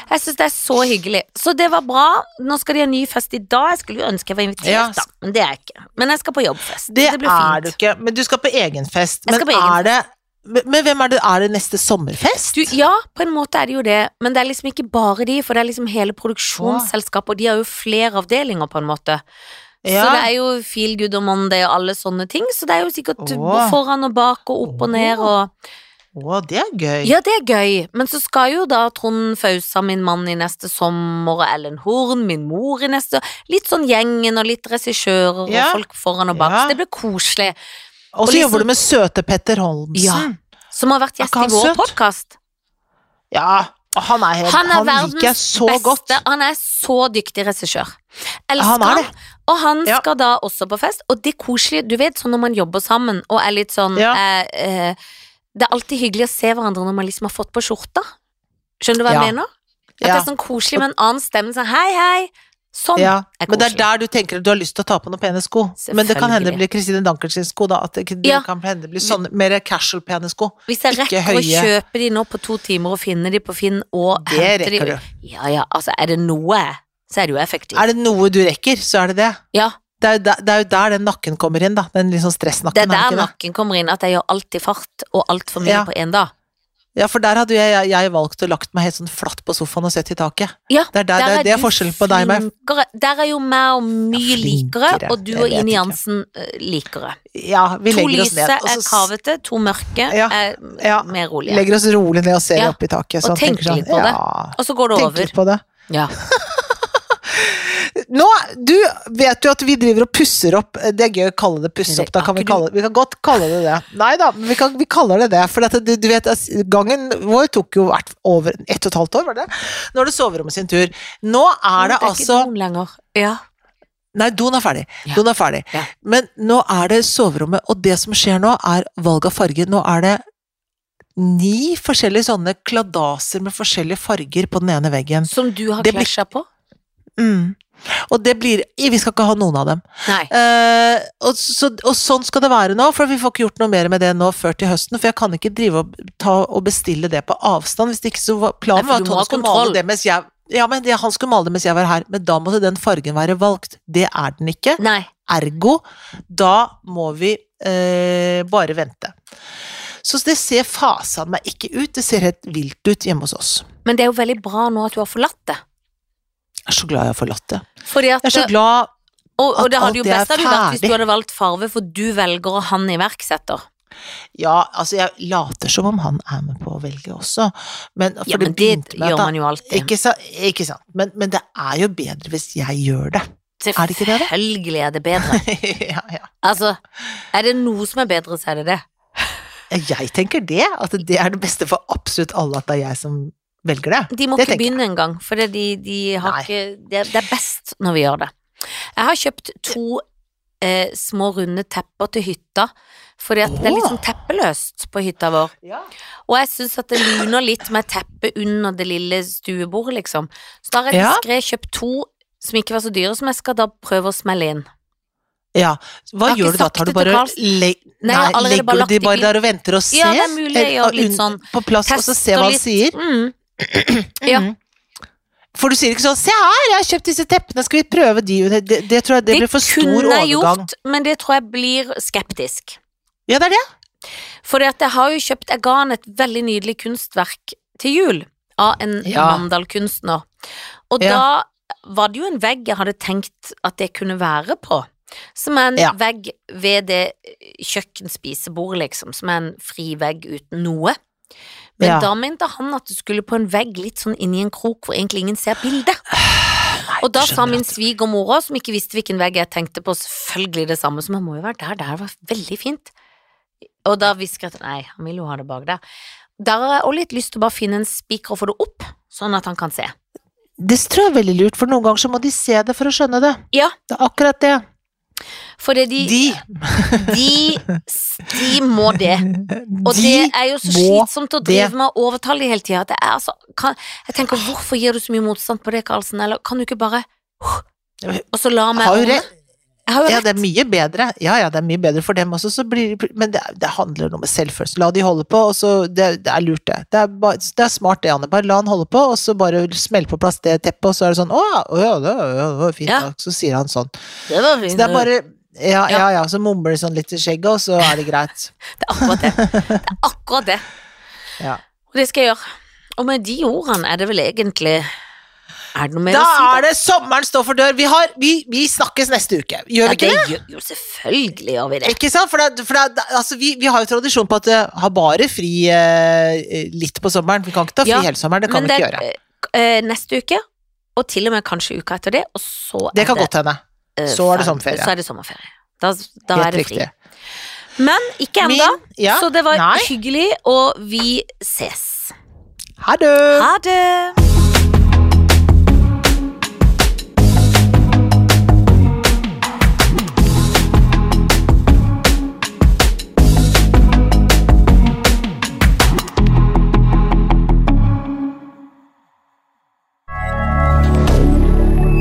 Speaker 2: Jeg syns det er så hyggelig. Så det var bra. Nå skal de ha ny fest i dag. Jeg skulle jo ønske jeg var invitert,
Speaker 1: Ja.
Speaker 2: da, men det er jeg ikke. Men jeg skal på jobbfest.
Speaker 1: Det,
Speaker 2: blir
Speaker 1: er
Speaker 2: fint.
Speaker 1: du ikke. Men du skal på egen fest.
Speaker 2: Jeg
Speaker 1: Men
Speaker 2: skal på egen
Speaker 1: er det men, men hvem er det? Er det neste sommerfest?
Speaker 2: Du, ja, på en måte er det jo det, men det er liksom ikke bare de, for det er liksom hele produksjonsselskapet, og de har jo flere avdelinger, på en måte. Så
Speaker 1: Ja.
Speaker 2: det er jo Feel Good og Monday og alle sånne ting, så det er jo sikkert
Speaker 1: Åh.
Speaker 2: foran og bak og opp og ned og
Speaker 1: Å, det er gøy.
Speaker 2: Ja, det er gøy, men så skal jo da Trond Fausa, min mann i neste sommer, og Ellen Horn, min mor i neste Litt sånn gjengen og litt regissører
Speaker 1: Ja.
Speaker 2: og folk foran og bak.
Speaker 1: Ja.
Speaker 2: Så det blir koselig.
Speaker 1: og
Speaker 2: og
Speaker 1: så
Speaker 2: liksom-
Speaker 1: jobber du med søte Petter Holmsen.
Speaker 2: Som har vært
Speaker 1: Er
Speaker 2: gjest
Speaker 1: ikke
Speaker 2: i
Speaker 1: han
Speaker 2: vår
Speaker 1: søt?
Speaker 2: podkast.
Speaker 1: Ja. Og han er helt
Speaker 2: Han er
Speaker 1: Han liker jeg
Speaker 2: verdens
Speaker 1: så
Speaker 2: beste.
Speaker 1: godt.
Speaker 2: Han er så dyktig regissør. Elsker
Speaker 1: Han
Speaker 2: han.
Speaker 1: er det.
Speaker 2: Og han
Speaker 1: Ja.
Speaker 2: skal da også på fest, og det er koselig. Du vet sånn når man jobber sammen og er litt sånn
Speaker 1: Ja.
Speaker 2: eh, eh, Det er alltid hyggelig å se hverandre når man liksom har fått på skjorta. Skjønner du hva
Speaker 1: Ja.
Speaker 2: jeg mener? At det
Speaker 1: Ja.
Speaker 2: er sånn koselig med en annen stemme. Sånn hei, hei. Sånn
Speaker 1: Ja.
Speaker 2: er
Speaker 1: Men det
Speaker 2: koselig.
Speaker 1: er der du tenker at du har lyst til å ta på noen pene sko. Men det kan hende det blir Kristine Dankers sko, da. At det, det
Speaker 2: Ja.
Speaker 1: kan hende det blir sånne mer casual pene sko.
Speaker 2: Hvis jeg
Speaker 1: ikke
Speaker 2: rekker å
Speaker 1: høye.
Speaker 2: kjøpe de nå på to timer og finne de på Finn og
Speaker 1: Det
Speaker 2: hente de
Speaker 1: rekker du.
Speaker 2: Ja ja, altså er det noe, så er det jo effektivt.
Speaker 1: Er det noe du rekker, så er det det.
Speaker 2: Ja.
Speaker 1: Det er, jo der- det er jo der den nakken kommer inn, da. Den litt sånn stressnakken. er det
Speaker 2: Det er der
Speaker 1: ikke det?
Speaker 2: nakken kommer inn, at jeg gjør alt i fart og alt for mye
Speaker 1: Ja.
Speaker 2: på én dag.
Speaker 1: Ja, for der hadde jo jeg, jeg, jeg valgt å lagt meg helt sånn flatt på sofaen og sett i taket.
Speaker 2: Ja,
Speaker 1: Det er, der, det, er, det er
Speaker 2: du
Speaker 1: forskjellen på deg og meg.
Speaker 2: flinkere. Der er jo meg og mye
Speaker 1: Ja,
Speaker 2: likere,
Speaker 1: flinkere,
Speaker 2: og du
Speaker 1: jeg
Speaker 2: og
Speaker 1: vet
Speaker 2: Ine
Speaker 1: ikke.
Speaker 2: Jansen eh, likere.
Speaker 1: Ja, vi
Speaker 2: To
Speaker 1: legger oss
Speaker 2: lyse
Speaker 1: ned.
Speaker 2: er
Speaker 1: s-
Speaker 2: kavete, to mørke
Speaker 1: Ja,
Speaker 2: er
Speaker 1: ja,
Speaker 2: mer rolige.
Speaker 1: legger oss rolig ned og ser
Speaker 2: Ja,
Speaker 1: opp i taket. sånn,
Speaker 2: og tenker litt på det.
Speaker 1: Ja,
Speaker 2: Og så går det
Speaker 1: tenker
Speaker 2: over.
Speaker 1: litt på det.
Speaker 2: Ja.
Speaker 1: Nå, du vet jo at vi driver og pusser opp Det er gøy å kalle det pusse opp, da kan vi kalle det Vi kan godt kalle det det. Nei da, men vi, kan, vi kaller det det. For at du, du vet, ass, gangen vår tok jo hvert over ett og et halvt år, var det? Nå er det soverommet sin tur. Nå er det
Speaker 2: ikke
Speaker 1: altså
Speaker 2: noen lenger. Ja.
Speaker 1: Nei, doen er ferdig.
Speaker 2: Ja.
Speaker 1: Doen er ferdig.
Speaker 2: Ja.
Speaker 1: Men nå er det soverommet, og det som skjer nå, er valg av farge. Nå er det ni forskjellige sånne kladaser med forskjellige farger på den ene veggen.
Speaker 2: Som du har
Speaker 1: Det blir-
Speaker 2: klasja på?
Speaker 1: Mm. Og det blir Vi skal ikke ha noen av dem.
Speaker 2: Nei.
Speaker 1: Eh, og, så, og sånn skal det være nå, for vi får ikke gjort noe mer med det nå før til høsten. For jeg kan ikke drive og, ta og bestille det på avstand. Hvis det ikke så var planen
Speaker 2: Nei,
Speaker 1: var
Speaker 2: for
Speaker 1: at
Speaker 2: du må
Speaker 1: han
Speaker 2: ha
Speaker 1: skulle
Speaker 2: kontroll.
Speaker 1: male det mens jeg ja, men det, Han skulle male det mens jeg var her, men da måtte den fargen være valgt. Det er den ikke.
Speaker 2: Nei.
Speaker 1: Ergo, da må vi eh, bare vente. Så det ser fasan meg ikke ut. Det ser helt vilt ut hjemme hos oss.
Speaker 2: Men det er jo veldig bra nå at du har forlatt det.
Speaker 1: Jeg er så glad jeg har forlatt det.
Speaker 2: Fordi at,
Speaker 1: Jeg er så glad
Speaker 2: og, og
Speaker 1: at
Speaker 2: det
Speaker 1: alt
Speaker 2: hadde jo
Speaker 1: det er
Speaker 2: best hadde jo vært hvis du
Speaker 1: ferdig.
Speaker 2: hadde valgt farve, for du velger og han iverksetter.
Speaker 1: Ja, altså jeg later som om han er med på å velge også, men for
Speaker 2: Ja,
Speaker 1: det
Speaker 2: men det
Speaker 1: begynte med
Speaker 2: gjør
Speaker 1: at han
Speaker 2: man jo alltid.
Speaker 1: ikke, sa, ikke sant, men, men det er jo bedre hvis jeg gjør det. er det ikke det, da?
Speaker 2: Selvfølgelig er det bedre.
Speaker 1: ja, ja.
Speaker 2: Altså, er det noe som er bedre, så er det det.
Speaker 1: Jeg tenker det, at det er det beste for absolutt alle at det er jeg som velger det.
Speaker 2: De må
Speaker 1: Det
Speaker 2: ikke
Speaker 1: tenker jeg.
Speaker 2: begynne engang, for det, de, de har
Speaker 1: Nei.
Speaker 2: ikke det, det er best når vi gjør det. Jeg har kjøpt to eh, små, runde tepper til hytta, fordi at det er litt
Speaker 1: Åh.
Speaker 2: sånn teppeløst på hytta vår. Og jeg syns at det luner litt med teppet under det lille stuebordet, liksom. Så da har jeg
Speaker 1: Ja.
Speaker 2: diskré kjøpt to som ikke var så dyre, som jeg skal da prøve å smelle inn.
Speaker 1: Ja, hva
Speaker 2: Jeg har ikke
Speaker 1: gjør du da?
Speaker 2: sagt
Speaker 1: Tar du
Speaker 2: det til
Speaker 1: bare
Speaker 2: Karlsen.
Speaker 1: le
Speaker 2: Nei, jeg har allerede bare
Speaker 1: legger
Speaker 2: lagt
Speaker 1: du de
Speaker 2: det i
Speaker 1: bare
Speaker 2: bilen.
Speaker 1: der og venter og ser?
Speaker 2: Ja, det er mulig jeg
Speaker 1: Eller-
Speaker 2: gjør litt
Speaker 1: og
Speaker 2: sånn
Speaker 1: På plass, og så ser hva han sier?
Speaker 2: Mm. Ja.
Speaker 1: Mhm. For du sier ikke sånn 'se her, jeg har kjøpt disse teppene, skal vi prøve de'? Det, det, det tror jeg det, blir for stor
Speaker 2: kunne
Speaker 1: overgang.
Speaker 2: jeg gjort, men det tror jeg blir skeptisk.
Speaker 1: Ja, det er det.
Speaker 2: Fordi at jeg har jo kjøpt Jeg ga han et veldig nydelig kunstverk til jul av en
Speaker 1: Ja.
Speaker 2: Mandal-kunstner. Og
Speaker 1: Ja.
Speaker 2: da var det jo en vegg jeg hadde tenkt at det kunne være på. Som er en
Speaker 1: Ja.
Speaker 2: vegg ved det kjøkkenspisebordet, liksom. Som er en fri vegg uten noe. Men
Speaker 1: Ja.
Speaker 2: da mente han at det skulle på en vegg litt sånn inni en krok hvor egentlig ingen ser bildet. Og da sa min svigermor òg, som ikke visste hvilken vegg jeg tenkte på, selvfølgelig det samme, som han må jo være der, det her var veldig fint. Og da hvisker jeg til Nei, han vil jo ha det bak der. Der har jeg også litt lyst til å bare finne en spiker og få det opp, sånn at han kan se.
Speaker 1: Det tror jeg er veldig lurt, for noen ganger så må de se det for å skjønne det.
Speaker 2: Ja.
Speaker 1: Det er akkurat det.
Speaker 2: Fordi de De,
Speaker 1: De.
Speaker 2: de, må det. Og
Speaker 1: de.
Speaker 2: det er jo så
Speaker 1: må
Speaker 2: slitsomt å
Speaker 1: det.
Speaker 2: drive med å overtale de hele tida. Det er altså kan, Jeg tenker, hvorfor gir du så mye motstand på det, Karlsen? Eller kan du ikke bare Og så la meg
Speaker 1: har jo
Speaker 2: ordne?
Speaker 1: rett.
Speaker 2: Jeg har jo
Speaker 1: Ja,
Speaker 2: rett.
Speaker 1: det er mye bedre. Ja, ja, det er mye bedre for dem også, så blir, men det, er- det handler noe med selvfølelse. La de holde på, og så Det, det er lurt, det. Det er, ba, det er smart, det, Anne. Bare la han holde på, og så bare smell på plass det teppet, og så er det sånn Å ja, å, ja, det var- det var fint,
Speaker 2: Ja.
Speaker 1: da. Så sier han sånn.
Speaker 2: Det var
Speaker 1: Så
Speaker 2: fint.
Speaker 1: det er bare Ja,
Speaker 2: Ja.
Speaker 1: ja, ja. Så mumler de sånn litt i skjegget, og så er det greit.
Speaker 2: Det er akkurat det. Det er akkurat det.
Speaker 1: Ja.
Speaker 2: Og det skal jeg gjøre. Og med de ordene er det vel egentlig Er det noe mer
Speaker 1: Da
Speaker 2: å si?
Speaker 1: er det sommeren står for dør. Vi, har, vi, vi snakkes neste uke.
Speaker 2: Ja,
Speaker 1: Gjør vi
Speaker 2: det
Speaker 1: ikke det?
Speaker 2: gjør jo selvfølgelig gjør vi det.
Speaker 1: Ikke sant? For, det, for det, altså, vi, vi har jo tradisjon på at det har bare fri eh, litt på sommeren. Vi kan ikke ta fri
Speaker 2: Ja,
Speaker 1: hele sommeren. Det kan
Speaker 2: Men
Speaker 1: vi
Speaker 2: det
Speaker 1: ikke
Speaker 2: er,
Speaker 1: gjøre.
Speaker 2: eh, neste uke, og til og med kanskje uka etter det, og så
Speaker 1: Det kan
Speaker 2: er det,
Speaker 1: godt hende.
Speaker 2: eh,
Speaker 1: Så er det
Speaker 2: fem-
Speaker 1: sommerferie.
Speaker 2: Så er det sommerferie. Da, da
Speaker 1: Helt
Speaker 2: er det
Speaker 1: riktig.
Speaker 2: fri. Men ikke ennå,
Speaker 1: Min- ja.
Speaker 2: så det var
Speaker 1: Nei.
Speaker 2: hyggelig, og vi ses.
Speaker 1: Ha det!
Speaker 2: Ha det!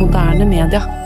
Speaker 3: Moderne media.